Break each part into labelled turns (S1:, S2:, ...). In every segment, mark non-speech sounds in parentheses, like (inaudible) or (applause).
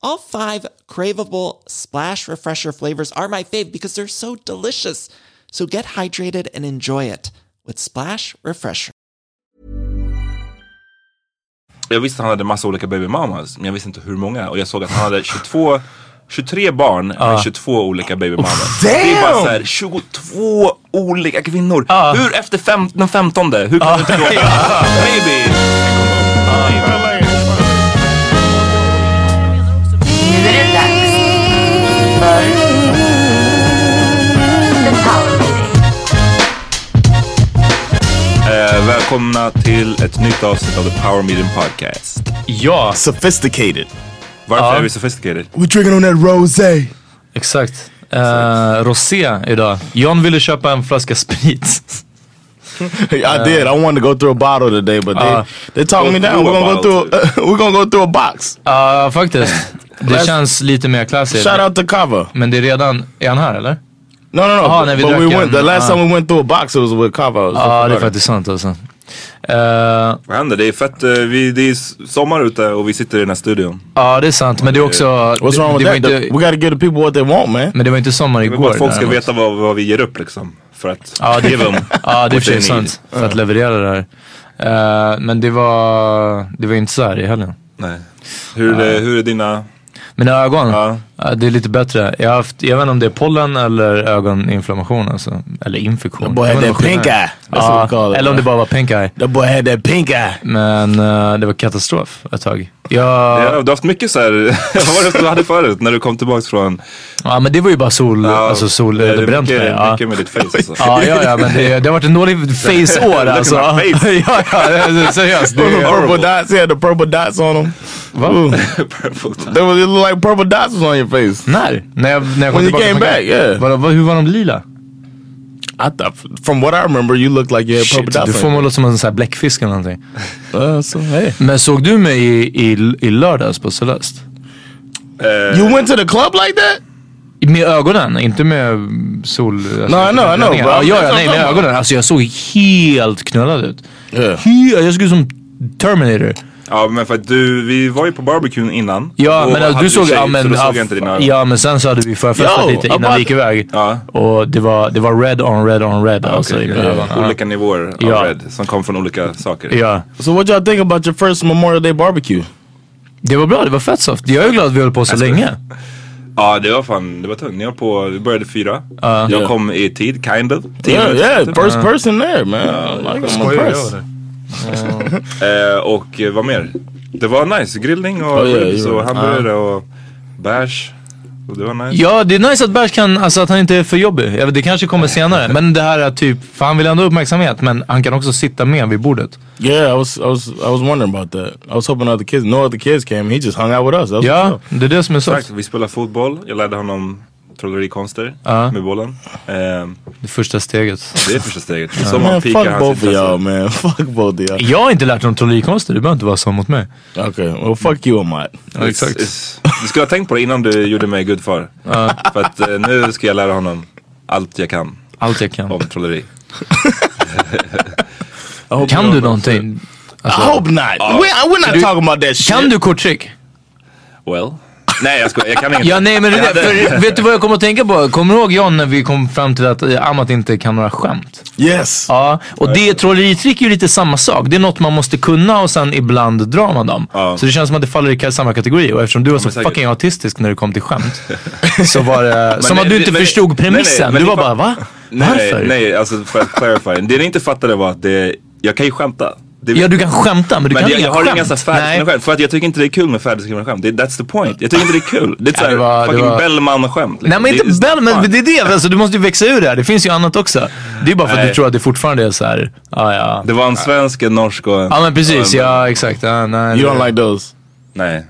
S1: All five craveable splash refresher flavors are my fave because they're so delicious. So get hydrated and enjoy it with Splash Refresher.
S2: Jag visste att han hade massa olika baby mamas, men jag visste inte hur många. Och jag såg att han hade 22, 23 barn med 22 olika baby
S3: Oh,
S2: mamas. Det är bara så här, 22 olika kvinnor. Hur efter fem, den femtonde? Hur kan du inte
S3: (laughs)
S2: gråta? Baby!
S4: Nu är det dags för The Power Meeting.
S2: Eh, välkomna till ett nytt avsnitt av The Power Medium Podcast.
S3: Ja,
S5: Sophisticated.
S2: Varför
S3: Ja.
S2: är vi sophisticated?
S5: We're drinking on that rosé.
S3: exakt. Eh, rosé idag. John ville köpa en flaska sprit.
S5: I did. I wanted to go through a bottle today, but
S3: Uh,
S5: they they
S2: go
S5: talked me down.
S2: through
S5: We're
S2: a
S5: gonna go
S2: bottle
S5: through. (laughs) we're gonna go through a box.
S3: Ja, faktiskt. (laughs) Det känns lite mer classy.
S5: Shout out to Kava.
S3: Men det är redan... Är han här eller?
S5: No, no, no.
S3: Oh,
S5: but
S3: nej, vi
S5: but
S3: drack
S5: we Uh-huh. Oh,
S3: en,
S5: went. The last
S3: uh,
S5: time we went through a box, it was with Kava.
S3: Ja, det är faktiskt sant alltså. Eh,
S2: Vad händer? Det är fett, eh, vi, det är s- sommar ute och vi sitter i den här studion.
S3: Ja, det är sant. Men det är också...
S5: What's wrong
S3: det,
S5: with
S3: det var
S5: that? The- we
S3: inte,
S5: gotta give the people what they want, man.
S3: men det var inte sommar
S2: Jag vill bara
S3: igår.
S2: att folk ska
S3: däremot.
S2: veta vad, vad vi ger upp liksom. För att
S3: Ja, det-
S2: give (laughs) them
S3: (laughs) Ja, det är i och
S2: what
S3: för
S2: they
S3: sig
S2: need.
S3: sant. För att leverera det här. Eh, men det var, det var inte så här i helgen.
S2: Nej. Hur, är det, hur är dina...
S3: Mina ögon,
S2: Ja.
S3: ja, det är lite bättre. Jag, har haft, jag vet inte om det är pollen eller ögoninflammation alltså. Eller infektion.
S5: boy
S3: Jag
S5: had
S3: vet inte
S5: that
S3: vad skillnaden är.
S5: pink eye. Uh, That's what we
S3: Ja,
S5: call it.
S3: eller om det bara var pink eye.
S5: That boy had that pink eye.
S3: Men eh, det var katastrof ett tag. Jag,
S2: Ja, du har haft mycket så här, (laughs) vad var det du hade förut när du kom tillbaks från...
S3: Ja, men det var ju bara sol,
S2: Ja,
S3: alltså sol,
S2: det är
S3: det bränt
S2: mycket,
S3: mig. Ja.
S2: mycket med ditt face alltså. (laughs)
S3: Ja, ja, ja, men det, det har varit en dålig face-år
S2: Look at
S3: alltså.
S2: my face.
S3: (laughs) ja, ja, det- seriöst. Det,
S5: (laughs) The
S2: Horrible.
S5: purple dots. He had the purple dots on him. Ooh.
S2: Purple time.
S5: They was, it looked like purple dots was on your face.
S3: när? När jag, när jag kom
S5: When you
S3: tillbaka
S5: came
S3: från-
S5: back, yeah.
S3: Vadå, vad- hur var de lila?
S5: I thought, from what I remember, you looked like you had purple
S3: Shit,
S5: dots.
S3: du
S5: on
S3: får
S5: your-
S3: mig att låta som en sån här bläckfisk eller någonting.
S5: Uh, so, hey.
S3: Men såg du mig i, i, i lördags på Celeste?
S2: Eh,
S5: You went to the club like that?
S3: Med ögonen, inte med sol... Alltså,
S5: No, I know, I know,
S3: klänningar.
S5: but
S3: Ja, ja, ja,
S5: I'm- that's what
S3: nej, med
S5: I'm talking about.
S3: ögonen. Alltså jag såg helt knullad ut.
S5: Yeah.
S3: He, jag såg ut som Terminator.
S2: Ja men för att du, vi var ju på barbecuen innan.
S3: Ja,
S2: Och
S3: men alltså,
S2: hade
S3: du såg...
S2: tjej,
S3: ja,
S2: så
S3: men,
S2: då såg
S3: ja,
S2: jag inte dina ögon.
S3: ja, men sen så hade vi förfestat
S5: Yo,
S3: lite innan
S5: about-
S3: vi gick iväg.
S2: Ja.
S3: Och det var, det var red on red on red alltså i mina ögon. Ja.
S2: eh, Olika nivåer av
S3: Ja.
S2: red som kom från olika saker.
S3: Ja.
S5: So what y'all think about your first Memorial Day barbecue?
S3: Det var bra, det var fett soft. Jag är glad att vi höll på så
S2: Jag ska-
S3: länge.
S2: Ja, det var fan, det var tungt. Ni var på, vi började fyra. jag
S5: Ja.
S2: kom i tid, kind of. Tio
S5: Yeah,
S2: minuter
S5: yeah,
S2: efter.
S5: first person there, man. I'm like, I'm impressed.
S2: Eh, och eh, vad mer? Det var nice, grillning och
S5: ja,
S2: ribs
S5: ja.
S2: och hamburgare och bärs. Och det var nice.
S3: Ja, det är nice att Bärs kan, alltså att han inte är för jobbig. Jag vet, Det kanske kommer senare. Men det här är typ, för han vill ändå ha uppmärksamhet men han kan också sitta med vid bordet.
S5: Yeah, I was, I was, I was wondering about that. I was hoping other kids, no other kids came. He just hung out with us. That was what's
S3: Ja,
S5: up.
S3: det är det som är soft.
S2: Exakt, vi spelade fotboll. Jag lärde honom trollerikonster
S3: Ja.
S2: med bollen. Eh,
S3: Det första steget.
S2: det är första steget. Så man
S5: Man,
S2: pikar
S5: fuck
S2: hans
S5: both of y'all,
S2: intresse.
S5: man. (laughs) Fuck both of y'all.
S3: Jag har inte lärt honom trollerikonster, det behöver inte vara så mot mig.
S5: Okay, well, fuck you, Amat.
S3: Ja,
S2: It's-
S3: exakt.
S2: it's- Du skulle ha tänkt på det innan du gjorde mig gudfar. För att eh, nu ska jag lära honom allt jag kan
S3: Allt jag kan.
S2: om trolleri.
S3: Kan du någonting?
S5: I hope not. we're, we're not
S3: du-
S5: talking about that shit.
S3: Kan du korttrick?
S2: Well. Nej jag skojar, jag kan inget.
S3: Ja, nej men det, där- för, vet du vad jag kommer att tänka på? Kommer du ihåg John när vi kom fram till att eh, Amat inte kan några skämt?
S5: Yes.
S2: Oh.
S3: Ja, och det trolleritrick är ju lite samma sak. Det är något man måste kunna och sen ibland drar man dem. Så det känns som att det faller i samma kategori. Och eftersom du var så
S2: men säkert.
S3: fucking autistisk när det kom
S2: (laughs)
S3: till skämt. så var det som
S2: nej,
S3: att du
S2: det-
S3: inte
S2: men-
S3: förstod
S2: nej, nej,
S3: premissen.
S2: men
S3: du
S2: det
S3: var
S2: fa-
S3: bara va?
S2: Nej,
S3: Varför?
S2: nej alltså för att clarify. Det ni inte fattade var att det, jag kan ju skämta. Det,
S3: Ja, du kan skämta men du
S2: men
S3: kan
S2: jag,
S3: inga
S2: jag har
S3: skämt.
S2: inga så här
S3: nej.
S2: färdigskrivna skämt. För att jag tycker inte det är kul med färdigskrivna skämt. Det, that's the point. Jag tycker inte det är kul. Det är ett
S3: Ja,
S2: såhär
S3: det var- det
S2: fucking
S3: var-
S2: Bellman-skämt.
S3: Nej
S2: liksom.
S3: men
S2: Det
S3: inte
S2: är-
S3: Bellman, men
S2: fan.
S3: det är det. Alltså, du måste ju växa ur det här. Det finns ju annat också. Det är bara för att du
S2: Nej.
S3: tror att det fortfarande är så här. Ja, ja.
S2: Det var en svensk, en norsk och en...
S3: Ja men precis,
S2: och en-
S3: ja exakt. Ja, nej,
S5: You
S3: nej.
S5: don't like those.
S2: Nej.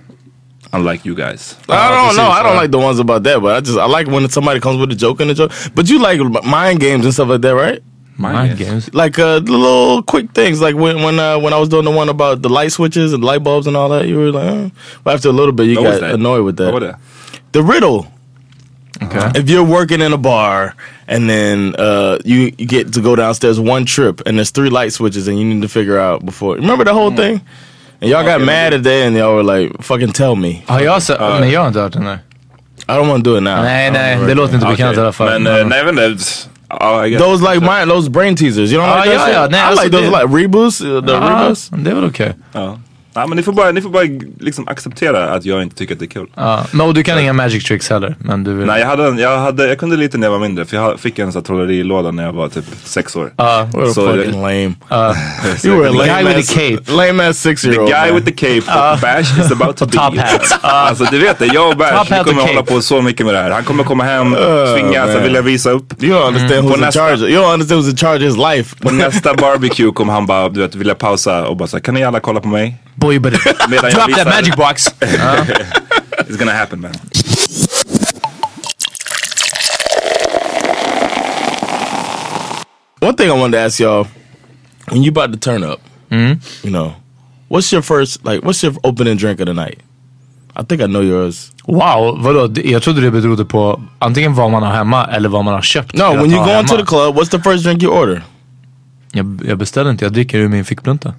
S2: Unlike you guys.
S5: I don't know. I
S3: uh,
S5: don't like the ones about that, but I just I like when somebody comes with a joke and a joke. But you like mind games and stuff like that, right?
S3: Mind games.
S5: Like uh, the little quick things, like when when uh, when I was doing the one about the light switches and light bulbs and all that. You were like, eh. but after a little bit, you
S2: What was
S5: got
S2: that?
S5: annoyed with
S2: Vad var
S5: that.
S2: det?
S5: The riddle.
S3: Okay.
S5: If you're working in a bar and then uh, you, you get to go downstairs one trip and there's three light switches and you need to figure out before. Remember the
S3: Mm.
S5: whole thing? And y'all got mad at that and y'all were like, fucking tell me.
S3: Har jag så? Men jag har inte hört den där.
S5: I don't want to do it now.
S3: Nej,
S5: I don't
S3: nej,
S5: wanna
S3: det
S5: write
S3: låter inte bekant i alla fall.
S2: Men eh, nej men det... Ja, I guess.
S5: Those like my those brain teasers. You don't
S3: Oh,
S5: like
S3: yeah,
S5: that shit?
S3: yeah, nah,
S5: I
S3: that's what
S5: like those
S3: they- Uh-huh.
S5: like reboots. Uh, the
S3: Ja,
S5: reboots.
S3: det är väl okej.
S2: Ja. Ja, men ni får bara, ni får bara liksom acceptera att jag inte tycker att det är kul.
S3: Ja, Men och du kan inga magic tricks heller. Men du vill...
S2: Nej, jag, hade en, jag, hade, jag kunde lite när jag var mindre. För jag ha- fick en sån här trollerilåda när jag var typ sex år.
S3: Ah,
S5: What a
S2: So (laughs)
S5: fucking
S2: the-
S5: lame.
S2: so
S5: you were a
S2: the
S5: lame
S3: guy with the
S5: ass,
S3: cape.
S5: Lame ass six year
S2: The
S5: old.
S2: guy with the cape och Bash is
S3: (laughs)
S2: about to be.
S3: Ah. top hat.
S2: (laughs) Alltså du vet det, jag och
S3: Top
S2: Bash vi
S3: hat och
S2: kommer
S3: cape.
S2: hålla på så mycket med det här. Han kommer komma hem, tvinga,
S5: Oh, man.
S2: sen vill jag visa upp. Mm.
S5: you don't understand
S2: På
S5: who's in
S2: nästa-
S5: charge. You don't understand who's in charge of his life.
S2: På nästa barbecue kommer han bara, du vet, vilja pausa och bara så här, kan ni alla kolla på mig?
S3: Boy, but
S2: (laughs) Medan jag
S3: drop
S2: visar-
S3: that
S2: (laughs)
S3: magic box.
S2: It's gonna happen man.
S5: One thing I wanted to ask y'all: when you about to turn up, you know, what's your first like? What's your opening drink of the night? I think I know yours.
S3: Wow, vadå? Det- Jag trodde det berodde på antingen vad man har hemma eller vad man har köpt.
S5: No,
S3: till att
S5: when you
S3: ha
S5: go
S3: hemma.
S5: into the club, what's the first drink you order?
S3: Jag, jag beställer inte, jag dricker ur min (laughs) fickplunta.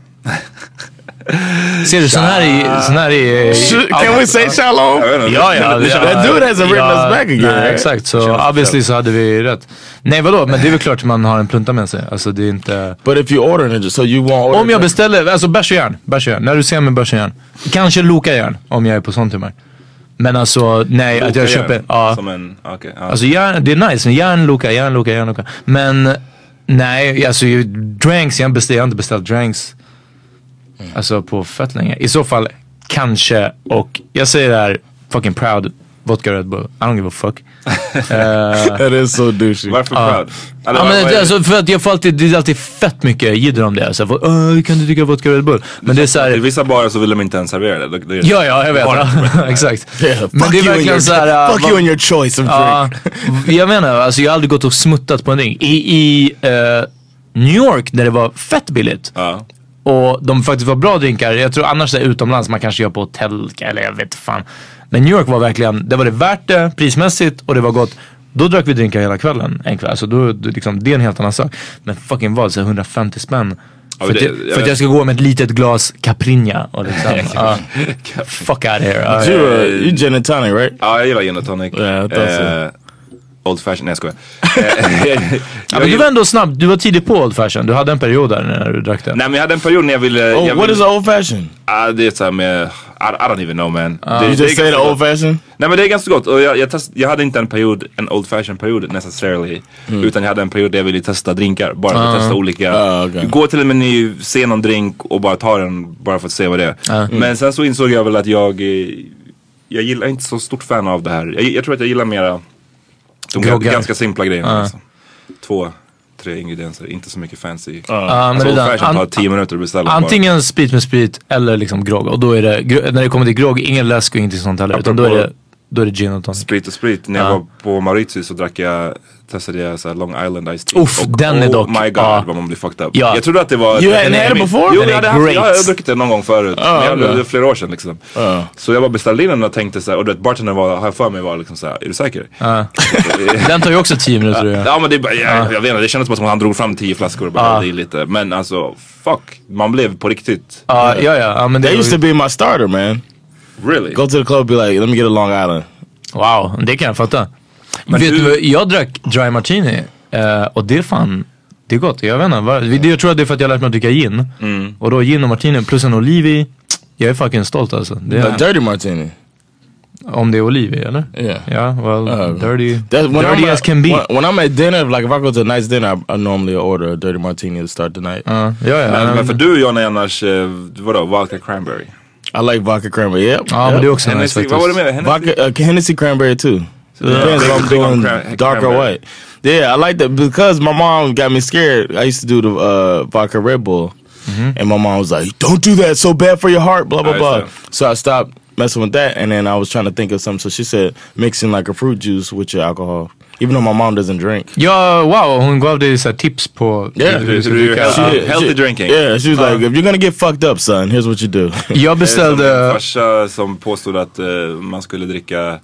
S3: Ser du, sån här är... Sån här är
S5: Can we say shallow?
S2: Jag vet inte.
S3: Ja, ja. ja.
S5: That dude hasn't written
S3: Ja,
S5: us back again.
S3: Nej,
S5: right?
S3: exakt. Så obviously så hade vi rätt. Nej, vadå? Men det är väl klart att man har en plunta med sig. Alltså det är inte...
S5: But if you order it, so you won't order.
S3: Om jag
S5: it-
S3: beställer, alltså bärs och järn. Bärs och järn. När du ser mig bärs och järn. Kanske Loka järn om jag är på sånt humör. Men alltså nej, att jag
S2: Okej,
S3: köper. Ja.
S2: Som en, okej. ja.
S3: Alltså järn, det är nice. Men järn, Loka, järn, Loka, järn, Loka. Men nej, alltså ju- drinks. Jag har inte beställt- jag har inte beställt drinks. Alltså på fett länge. I så fall kanske och jag säger det här fucking proud. Vodka Red Bull. I don't give a fuck.
S5: that is so douchey.
S2: Varför proud? Eller
S3: Ja,
S2: vad-
S3: men,
S2: vad är det?
S3: alltså, för att jag får alltid, det är alltid fett mycket jidder om det. Så här, "Åh, kan du dricka vodka Red Bull? Men det är så här,
S2: I vissa barer så vill de inte ens servera det. det. det är-
S3: Ja, ja, jag vet. Ja, (laughs) exakt. Men det är verkligen
S5: (laughs)
S3: äh, såhär...
S5: fuck you and your choice of
S3: Ja, (laughs)
S5: drink.
S3: jag menar, alltså jag har aldrig gått och smuttat på en drink. I, i eh, New York där det var fett billigt
S2: Ja.
S3: och de faktiskt var bra drinkar. Jag tror annars där utomlands man kanske gör på hotell eller jag vet fan. Men New York var verkligen, det var det värt det prismässigt och det var gott. Då drack vi drinkar hela kvällen en kväll. Så då, då liksom, det är en helt annan sak. Men fucking vad, så här 150 spänn.
S2: Ja,
S3: för
S2: men
S3: att,
S2: det-
S3: jag,
S2: jag
S3: för att jag
S2: vet.
S3: ska gå med ett litet glas Caprinha
S2: (laughs)
S3: och liksom, ja, fuck out here. Ja,
S5: You uh, you gin and tonic, right?
S2: Ja, jag gillar gin och tonic.
S5: Ja, jag tar så.
S2: Eh, old fashion, nej jag
S5: (laughs)
S2: skojar. Eh, (laughs) jag
S3: Ja, men du
S2: gillar-
S3: var ändå snabb. Du var tidig på Old Fashion. Du hade en period där när du drack den.
S2: Nej men jag hade en period när jag ville...
S5: Oh,
S2: jag
S5: what
S2: ville,
S5: is an old fashioned?
S2: Ah, det är såhär med... I, I don't even know man. det,
S5: You
S2: det är
S5: just say the
S2: ganska
S5: Uh,
S2: gott.
S5: old fashioned?
S2: Nej men det är ganska gott. Och jag, jag, test, jag hade inte en period, en old fashion period necessarily. Utan jag hade en period där jag ville testa drinkar. Bara för att testa olika.
S5: Ah, okej.
S2: Gå till en meny, se någon drink och bara ta den. Bara för att se vad det är. Men sen så insåg jag väl att jag... eh, Jag gillar jag är inte så stort fan av det här. Jag, jag tror att jag gillar mera de
S3: Groggar.
S2: ganska simpla grejerna. Liksom. Två, tre ingredienser. Inte så mycket fancy.
S3: Ja, men
S2: alltså,
S3: det
S2: old
S3: där-
S2: fashion tar
S3: an-
S2: tio minuter att beställa. bara.
S3: Antingen sprit med sprit eller liksom grogg. Och då är det, gro- när det kommer till grogg, ingen läsk och ingenting sånt heller. Utan då är det Då är det gin och tonic.
S2: Sprit och sprit. När jag
S3: Ja.
S2: var på Mauritius så drack jag, testade jag så här Long Island Ice Tea.
S3: Uff,
S2: och,
S3: den är
S2: oh
S3: dock-
S2: my god
S3: ja.
S2: vad man blir fucked up.
S3: Ja.
S2: Jag trodde att det var...
S5: You hadn't
S2: den är
S5: had it
S2: min-
S5: before?
S2: Jo,
S5: Den
S2: jag hade
S3: är
S2: haft,
S3: great.
S2: jag hade druckit den någon gång förut. men jag, det var flera år sedan liksom.
S5: Ja.
S2: Så jag bara beställde in den och tänkte så här, och du vet bartendern var, har jag för mig var liksom så här, är du säker?
S3: Den tar ju också tio minuter att göra.
S2: Ja men det, är bara- jag, jag vet inte, det kändes bara som att han drog fram tio flaskor och bara
S3: Ja.
S2: hällde i lite. Men alltså, fuck. Man blev på riktigt.
S3: Ja, ja, ja. ja men det
S5: That used to
S3: var,
S5: be my starter, man.
S2: Really?
S5: Go to the club, be like, let me get a Long Island.
S3: wow, det kan jag fatta.
S2: Men
S3: vet
S2: hur-
S3: du, jag drack dry martini eh, och det är fan, det är gott. Jag vet inte, vad- det- jag tror att det är för att jag har lärt mig att dricka gin. Och då gin och martini plus en oliv i. Jag är fucking stolt alltså. Det är,
S5: A dirty martini.
S3: Om det är oliv i eller?
S5: Yeah.
S3: Ja, well,
S5: Uh,
S3: dirty,
S5: That's when
S3: dirty
S5: I'm
S3: as
S5: at,
S3: can be.
S5: When, when I'm at dinner, like if I go to a nice dinner, I, I normally order a dirty martini to start the night.
S3: Ja, ja, ja.
S2: Men, men
S3: men-
S2: för du och Jonna är annars, eh, vadå, vodka cranberry?
S5: I like vodka cranberry. Yep.
S3: Ja, men
S5: yep.
S3: det är också nice
S2: Hennessy,
S3: faktiskt.
S2: vad var det med? Hennessy?
S5: Vodka, uh, Hennessy cranberry too. Depends
S2: Big-
S5: if I'm
S2: big on
S5: doing
S2: cran-
S5: dark or
S2: cranberry.
S5: white. Yeah, I like that because my mom got me scared. I used to do the uh, vodka Red Bull,
S2: Mm-hmm.
S5: and my mom was like, "Don't do that. It's so bad for your heart." Blah blah
S2: I
S5: blah.
S2: see.
S5: So I stopped messing with that, and then I was trying to think of something. So she said mixing like a fruit juice with your alcohol, even though my mom doesn't drink.
S3: Ja, wow, hon gav dig så här tips på
S5: Yeah,
S3: hur du ska
S2: hur du gör.
S3: dricka.
S2: She
S3: Ja.
S2: did. uh, healthy drinking. Eh,
S5: Yeah, she was like, "If you're gonna get fucked up, son, here's what you do."
S3: Jag
S2: Som min
S3: beställde...
S2: farsa som påstod att eh, man skulle dricka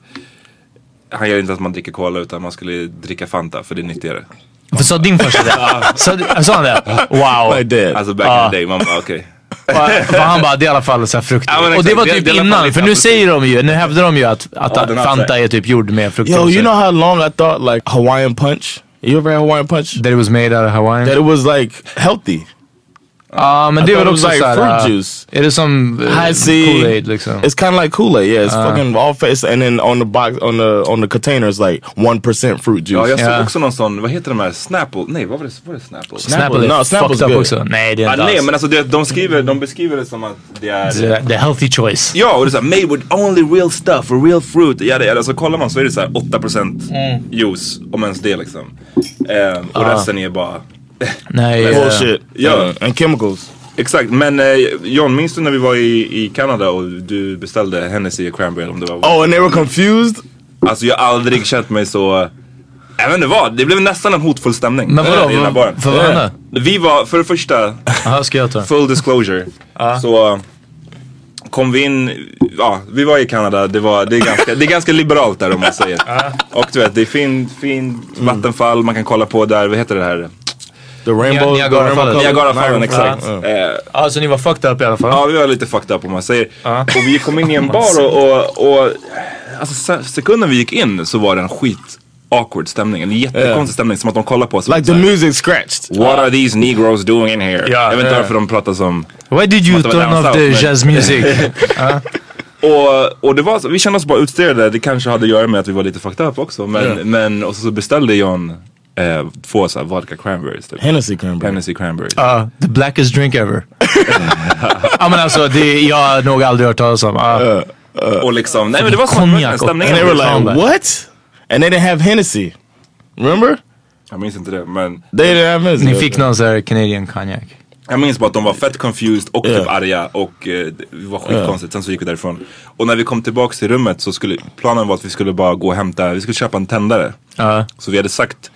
S2: han gör inte att man dricker cola utan man skulle dricka Fanta för det är nyttigare.
S3: För sa din
S2: (laughs)
S3: farsa det? Sa- Sa han det? Wow.
S5: (laughs) my dad.
S2: Alltså back
S3: Ah.
S2: in the day, man bara okej.
S3: För för han bara, det är i alla fall så här frukt.
S2: Ja, men
S3: Och det
S2: exakt,
S3: var
S2: det-
S3: typ
S2: det är i alla fall
S3: innan,
S2: lite
S3: för nu
S2: apelsin.
S3: säger de ju, nu hävdar de ju att, att
S2: Ja, den här
S3: Fanta
S2: färgen.
S3: är typ gjord med fruktos.
S5: Yo, you know how long I thought like Hawaiian punch? You ever had Hawaiian punch?
S3: That it was made out of
S5: That
S3: Hawaiian.
S5: it was like healthy.
S3: Ja, men det är
S5: I
S3: väl
S5: thought it
S3: också
S5: was like
S3: såhär...
S5: fruit
S3: äh,
S5: juice. Mm,
S3: Är det som eh,
S5: I see.
S3: Kool-Aid liksom?
S5: It's kind of like Kool Aid. Yeah, it's fucking all face, and then on the box, on the on the container, it's like one percent fruit
S2: (laughs)
S5: juice.
S2: Ja, jag såg
S3: Ja.
S2: också någon sån, vad heter de här, Snapple? Nej, vad var det? Var det Snapple?
S3: Snapple
S5: No,
S3: är
S5: Snapple's
S3: fucked up
S5: good.
S3: också. Nej, det är
S2: Ah,
S3: inte
S2: nej, men
S3: alls.
S2: alltså det, de, skriver, de beskriver det som att det är...
S3: The- The healthy choice.
S2: Ja, och det är såhär made with only real stuff, real fruit. Ja, det, alltså kollar man så är det såhär 8% juice, om ens det liksom. Ehm, och resten är bara...
S3: Nej. eh,
S5: bullshit.
S2: Yeah.
S5: Uh, and chemicals.
S2: Exakt, men eh, John, minns du när vi var i, i Kanada och du beställde Hennessy och Cranberry om det var...
S5: Oh, and they were confused.
S2: Alltså jag har aldrig känt mig så... Jag vet inte vad, det blev nästan en hotfull stämning.
S3: Men vadå?
S2: i den här
S3: Vad-
S2: baren.
S3: för vad
S2: Eh,
S3: hände?
S2: Vi var, för det
S3: (laughs)
S2: första,
S3: Jaha, ska jag ta den?
S2: full disclosure. Så kom vi in, ja vi var i Kanada, det, var, det, är, ganska, det är ganska liberalt där om man
S3: (laughs)
S2: säger. Och du vet, det är fin, fin
S3: Mm.
S2: vattenfall, man kan kolla på där, vad heter det här?
S5: The rainbow, the
S3: Niagara
S5: rainbow
S3: Falls.
S5: color-
S2: Niagarafallen, exakt.
S5: Uh,
S2: Eh,
S3: Ja, så ni var fucked up i alla fall?
S2: Ja, vi var lite fucked up om man säger. Och vi kom in i en bar och, och, och alltså, se- sekunden vi gick in så var det en skit awkward stämning. En jättekonstig stämning som att de kollar på oss.
S5: like the
S2: Så här,
S5: music scratched.
S2: What are these negros doing in here?
S3: Ja,
S2: jag vet inte
S3: ja.
S2: varför de pratar som...
S3: Why did you
S2: Måste vara
S3: turn
S2: down
S3: off the
S2: south, men-
S3: jazz music?
S2: (laughs)
S3: (laughs) Ja.
S2: Och, och det var så, vi kände oss bara utstyrade. Det kanske hade att göra med att vi var lite fucked up också. Men, men och så, så beställde John eh, två såhär vodka cranberries. Typ.
S5: Hennessy Ah. cranberry.
S2: Hennessy cranberries.
S3: Ja, Ah, the blackest drink ever.
S2: (laughs)
S3: ja men alltså, det, jag har nog aldrig hört talas om. Ah, Ja.
S2: och liksom, nej men det var
S3: Konjak
S2: sån
S3: och-
S2: stämning.
S5: And they were
S3: Sound
S5: like,
S3: bad.
S5: what? And they didn't have Hennessy. Remember?
S2: Jag minns inte det men.
S5: They didn't have Hennessy.
S3: Ni fick någon sån här Canadian konjak.
S2: Jag minns bara att de var fett confused och typ
S5: Ja.
S2: arga och eh, det var skitkonstigt. Sen så gick vi därifrån. Och när vi kom tillbaks till rummet så skulle planen vara att vi skulle bara gå och hämta, vi skulle köpa en tändare.
S3: Ja.
S2: Så vi hade sagt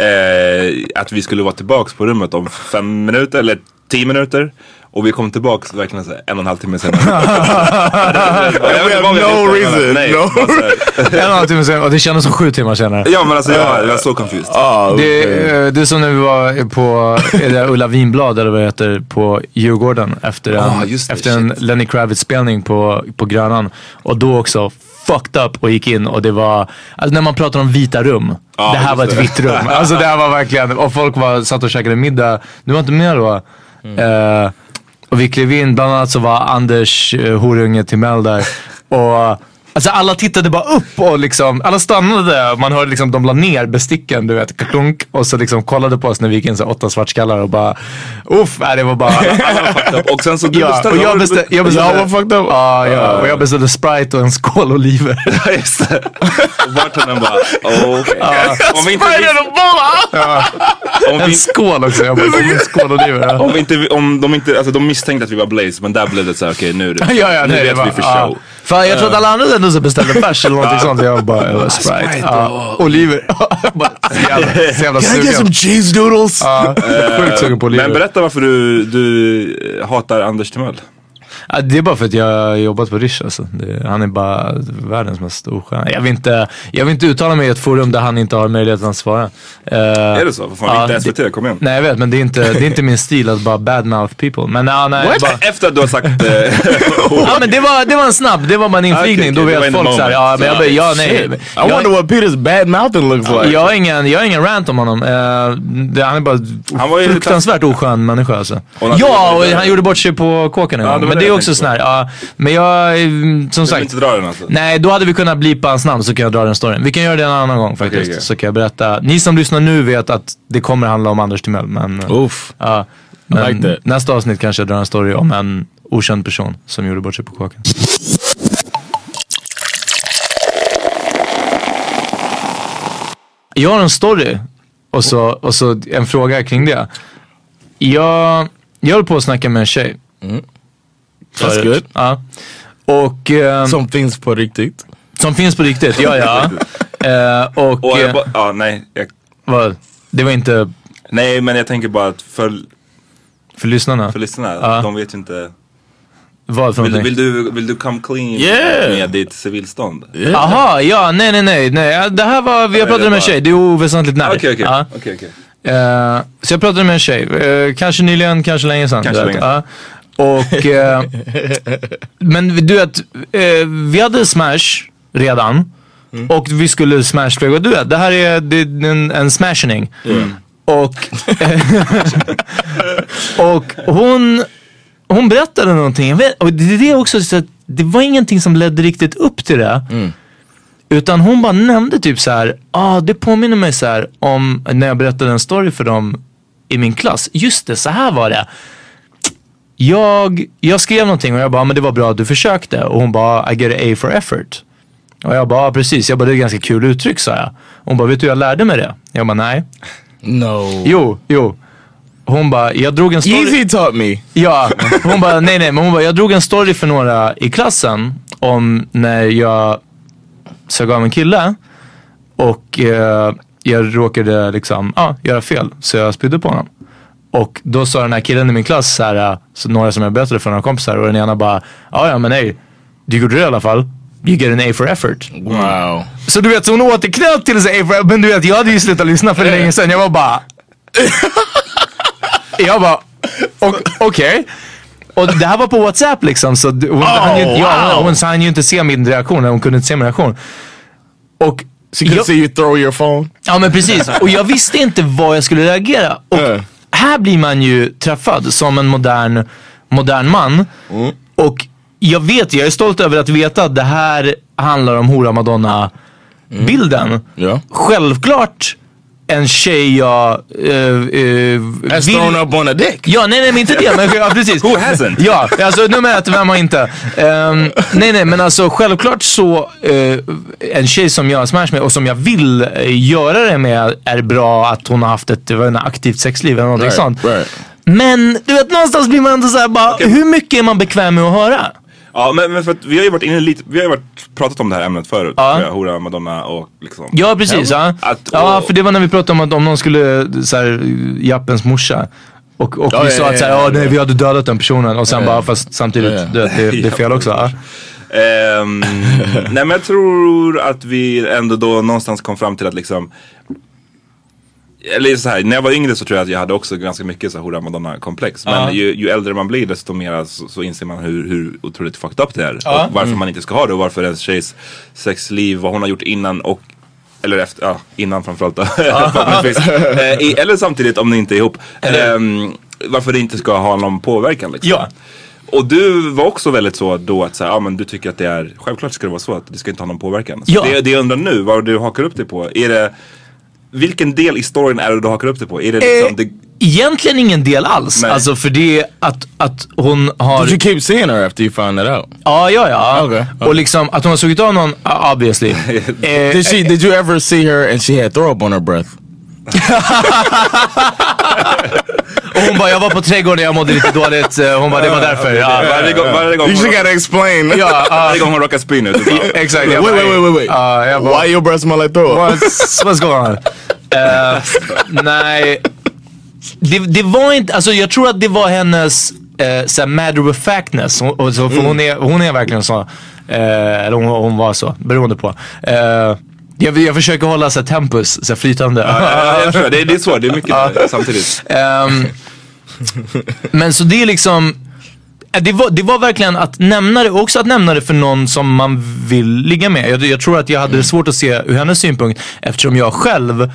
S2: eh, att vi skulle vara tillbaks på rummet om fem minuter eller tio minuter. Och vi kom tillbaks verkligen så här, en och en halv timme
S5: (laughs)
S2: senare. Jag vet inte vad vi hade
S5: no
S2: gjort, men-
S5: reason,
S2: nej,
S5: no.
S2: bara så här.
S3: En och en halv timme senare, och det kändes som sju timmar senare.
S2: Ja men alltså jag, jag var så confused.
S5: Oh,
S3: Det,
S5: okay.
S3: eh, det är som när vi var på är det Ulla Vinblad eller vad det heter på Djurgården efter en,
S2: Ah, just det,
S3: efter en
S2: shit.
S3: Lenny Kravitz-spelning på, på Grönan. Och då också fucked up och gick in och det var, alltså när man pratar om vita rum.
S2: Ja,
S3: det här
S2: just
S3: var ett
S2: det.
S3: vitt rum. Alltså det här var verkligen, och folk var, satt och käkade middag. Du var inte med då?
S2: Mm.
S3: Eh, och vi klev in, bland annat så var Anders uh, Horunge Timell där. Och alltså alla tittade bara upp och liksom, alla stannade. Man hörde liksom, de la ner besticken, du vet, klunk. Och så liksom kollade på oss när vi gick in så här, åtta svartskallar och bara, uff, nej, det var bara...
S2: Och sen så Alltså, du
S3: Ja, och
S2: beställde...
S3: jag beställde... Jag beställde
S5: Y'all were fucked up?
S3: Ja, ja, och jag beställde Sprite och en skål oliver.
S2: (laughs) Just det. Och bartendern bara, oh, okej. Om vi inte visste- om
S3: En
S2: vi-
S3: skål också. Jag bara, en skål oliver. ja.
S2: Om, vi inte, om de inte, alltså de misstänkte att vi var Blaze men där blev det såhär okej nu är det,
S3: (laughs) Ja, ja,
S2: nu
S3: nej, det
S2: vet
S3: var-
S2: vi för
S3: ja.
S2: show.
S3: Fan jag trodde alla andra ändå så beställde bärs eller någonting sånt. Jag bara, jag bara (laughs) Sprite.
S2: Sprite
S3: Ja, oliver. (laughs) Bara, så jävla, så jävla
S5: Can I get some
S3: sugen.
S5: cheese doodles?
S3: Ja, Sjukt sugen på
S2: Eh, Men
S3: oliver.
S2: berätta varför du, du eh, hatar Anders Timell.
S3: Ja, det är bara för att jag har jobbat på Rish alltså. det, Han är bara världens mest storstjärna. Jag vill, inte, jag vill inte uttala mig i ett forum där han inte har möjligheten att svara.
S2: Är det så? Vad fan, inte SVT, kom igen.
S3: Nej jag vet men det är inte, det är inte min stil att bara badmouth people. Men ja, nej,
S2: What?
S3: bara,
S2: Efter att du har sagt... eh,
S3: (laughs) ja, men det, var, det var en snabb, det var bara en inflygning.
S2: Ah, Okej, okej, det
S3: Då
S2: var
S3: vet
S2: in the
S3: folk såhär, ja
S2: moment.
S3: men jag, bara,
S5: Oh,
S3: ja nej.
S5: Shit. I
S3: Jag,
S5: wonder what Peter's bad mouthing looks like.
S3: jag, har ingen, jag har ingen rant om honom. Eh, det, han är bara
S2: Han var ju-
S3: fruktansvärt oskön människa alltså.
S2: Och han-
S3: Ja, och han gjorde bort sig på kåken en
S2: Ja, det var
S3: gång. Men
S2: det
S3: det är
S2: jag
S3: också
S2: tänkte
S3: sån här, ja. Men jag, mm, som
S2: vill
S3: sagt.
S2: inte dra den alltså?
S3: Nej, då hade vi kunnat blipa hans namn så kan jag dra den storyn. Vi kan göra det en annan gång faktiskt.
S2: okej.
S3: Så kan jag berätta. Ni som lyssnar nu vet att det kommer handla om Anders Timell, men... eh,
S5: Oof.
S3: Ja.
S5: I
S3: Men
S5: like that.
S3: nästa avsnitt kanske jag drar en story om en okänd person som gjorde bort sig på kåken. Jag har en story och så, och så en fråga kring det. Jag, jag höll på att snacka med en tjej.
S5: That's
S3: förut.
S5: good.
S3: Ja. Och, ehm, som,
S5: Some things på riktigt.
S3: finns på riktigt,
S2: (laughs)
S3: ja ja. Eh, och
S2: Och jag
S3: eh,
S2: bara, ja, nej, jag,
S3: vad, det var inte
S2: nej, men jag tänker bara att för,
S3: för lyssnarna.
S2: för lyssnarna,
S3: Ja.
S2: de vet ju inte.
S3: vad för
S2: Vill,
S3: någonting?
S2: vill, du, vill du come clean
S5: Yeah.
S2: med ditt civilstånd? Okej,
S3: Aha, ja, nej, nej, nej, nej. Ja, Det här var, jag pratade
S2: det
S3: med en
S2: var-
S3: tjej, det är oväsentligt när.
S2: Ah, okej,
S3: Ja.
S2: okej, okej.
S3: Eh, så jag pratade med en tjej, eh, kanske nyligen, kanske länge sedan.
S2: Kanske
S3: du vet.
S2: länge.
S3: Ja. och, eh, men du vet, eh, vi hade smash redan.
S2: Mm.
S3: Och vi skulle smash och du vet, det här är, det är en, en smashning.
S2: Mm.
S3: Och, eh, (laughs) och hon, hon berättade någonting, jag vet, och det, det är också så att det var ingenting som ledde riktigt upp till det. Utan hon bara nämnde typ så här, ah, det påminner mig så här om när jag berättade en story för dem i min klass. Just det, så här var det. Jag, jag skrev någonting och jag bara, "Ah, men det var bra att du försökte. Och hon bara, I get an A for effort. Och jag bara, ah, precis. Jag bara, det är ett ganska kul uttryck sa jag. Hon bara, vet du hur jag lärde mig det? Jag bara, nej.
S5: No.
S3: Jo, jo. Hon bara, jag drog en story.
S5: Yeezy taught me.
S3: Ja, hon bara nej nej, men hon bara jag drog en story för några i klassen om när jag sög av en kille och eh, jag råkade liksom, ja, göra fel så jag spydde på honom. Och då sa den här killen i min klass, så här, eh, så några som jag berättade för, några kompisar och den ena bara, ja ja men nej, du gjorde det i alla fall. You get an A for effort.
S5: Wow.
S3: Så du vet, så hon återknöt till sig Abraham, men du vet jag hade ju slutat lyssna för länge sedan. Jag var bara... jag bara, o- okej. Och det här var på WhatsApp liksom, så d- hon, hann, ju, inte- ja, hon, hon hann ju inte se min reaktion, hon kunde inte se min reaktion. Och
S5: She could
S3: jag-
S5: see you throw your phone.
S3: Ja men precis, och jag visste inte vad jag skulle reagera. Och
S5: Mm.
S3: här blir man ju träffad som en modern, modern man. Och jag vet, jag är stolt över att veta att det här handlar om hora madonna bilden.
S5: Yeah.
S3: Självklart en tjej jag... eh, eh,
S5: That's
S3: vill-
S5: thrown up on a dick.
S3: Ja, nej, nej, men inte det. Men, (laughs) ja, precis.
S2: Who hasn't?
S3: Ja, alltså nummer ett, vem har inte? Ehm, nej, nej, men alltså självklart så eh, en tjej som jag har smash med och som jag vill eh, göra det med är bra att hon har haft ett jag vet inte, aktivt sexliv eller någonting
S5: Right,
S3: sånt.
S5: right.
S3: Men du vet, någonstans blir man ändå såhär bara, hur mycket är man bekväm med att höra?
S2: Ja, men, men för att vi har ju varit inne lite, vi har ju varit, pratat om det här ämnet förut.
S3: Ja.
S2: tror jag, Hora, Madonna och liksom.
S3: Ja, precis. Ja,
S2: Att-
S3: ja för det var när vi pratade om att om någon skulle, såhär, jappens morsa. Och, och
S5: Ja,
S3: vi
S5: ja,
S3: sa
S5: ja,
S3: att såhär,
S5: ja,
S3: ja,
S5: ja.
S3: nej vi hade dödat den personen och sen
S5: Ja, ja.
S3: bara, fast samtidigt,
S5: Ja, ja.
S3: du vet, Det, det är fel också. Ja. (laughs)
S2: Ehm, nej men jag tror att vi ändå då någonstans kom fram till att liksom eller så här, när jag var yngre så tror jag att jag hade också ganska mycket så här hora madonna komplex. Men
S3: Ja.
S2: ju, ju äldre man blir desto mer så, så inser man hur, hur otroligt fucked up det är.
S3: Ja. Mm.
S2: Och varför man inte ska ha det och varför ens tjejs sexliv, vad hon har gjort innan och eller efter, ja innan framförallt då. (laughs) förhoppningsvis. Eh, i- eller samtidigt om ni inte är ihop. Ehm, varför det inte ska ha någon påverkan liksom.
S3: Ja.
S2: Och du var också väldigt så då att så här, ja, men du tycker att det är, självklart ska det vara så att det ska inte ha någon påverkan. Så
S3: Ja.
S2: Det, det jag undrar nu, vad du hakar upp dig på, är det, vilken del i storyn är det du hakar upp dig på? Är det liksom, det,
S3: Eh, Egentligen ingen del alls.
S2: Nej.
S3: Alltså för det är att, att hon har...
S5: Did you keep seeing her after you found that out?
S3: Ja, ja, ja.
S5: Okej, okej.
S3: Och liksom att hon har sugit av någon, ah, obviously. eh,
S5: Did she? Did you ever see her and she had throw up on her breath?
S6: Och hon bara, jag var på trädgården, jag mådde lite dåligt. Eh, Hon bara, det var därför. Ja,
S2: Varje gång, varje gång,
S5: You
S2: hon,
S5: just gotta (laughs) explain.
S6: ja
S2: varje
S6: ah,
S2: gång hon råkar spy nu.
S3: (laughs)
S2: typ.
S6: exakt.
S5: Wait,
S6: Jag
S5: wait,
S6: bara,
S5: wait, wait, wait.
S3: Ja, jag bara,
S5: Why your breath smell like throw up?
S6: What's, what's going on? Eh, nej,
S3: det, det var inte, alltså jag tror att det var hennes eh, såhär matter of factness. Hon, och så, för
S2: Mm.
S3: hon, är, hon är verkligen så. Eh, eller hon, hon var så, beroende på. Eh, jag, jag försöker hålla så här, tempus, så här, flytande.
S2: Ja,
S3: (laughs)
S2: jag förstår. Det, det är svårt, det är mycket där samtidigt.
S3: Ehm, men så det är liksom, eh, det var, det var verkligen att nämna det, också att nämna det för någon som man vill ligga med. Jag, jag tror att jag hade
S2: Mm.
S3: det svårt att se ur hennes synpunkt eftersom jag själv,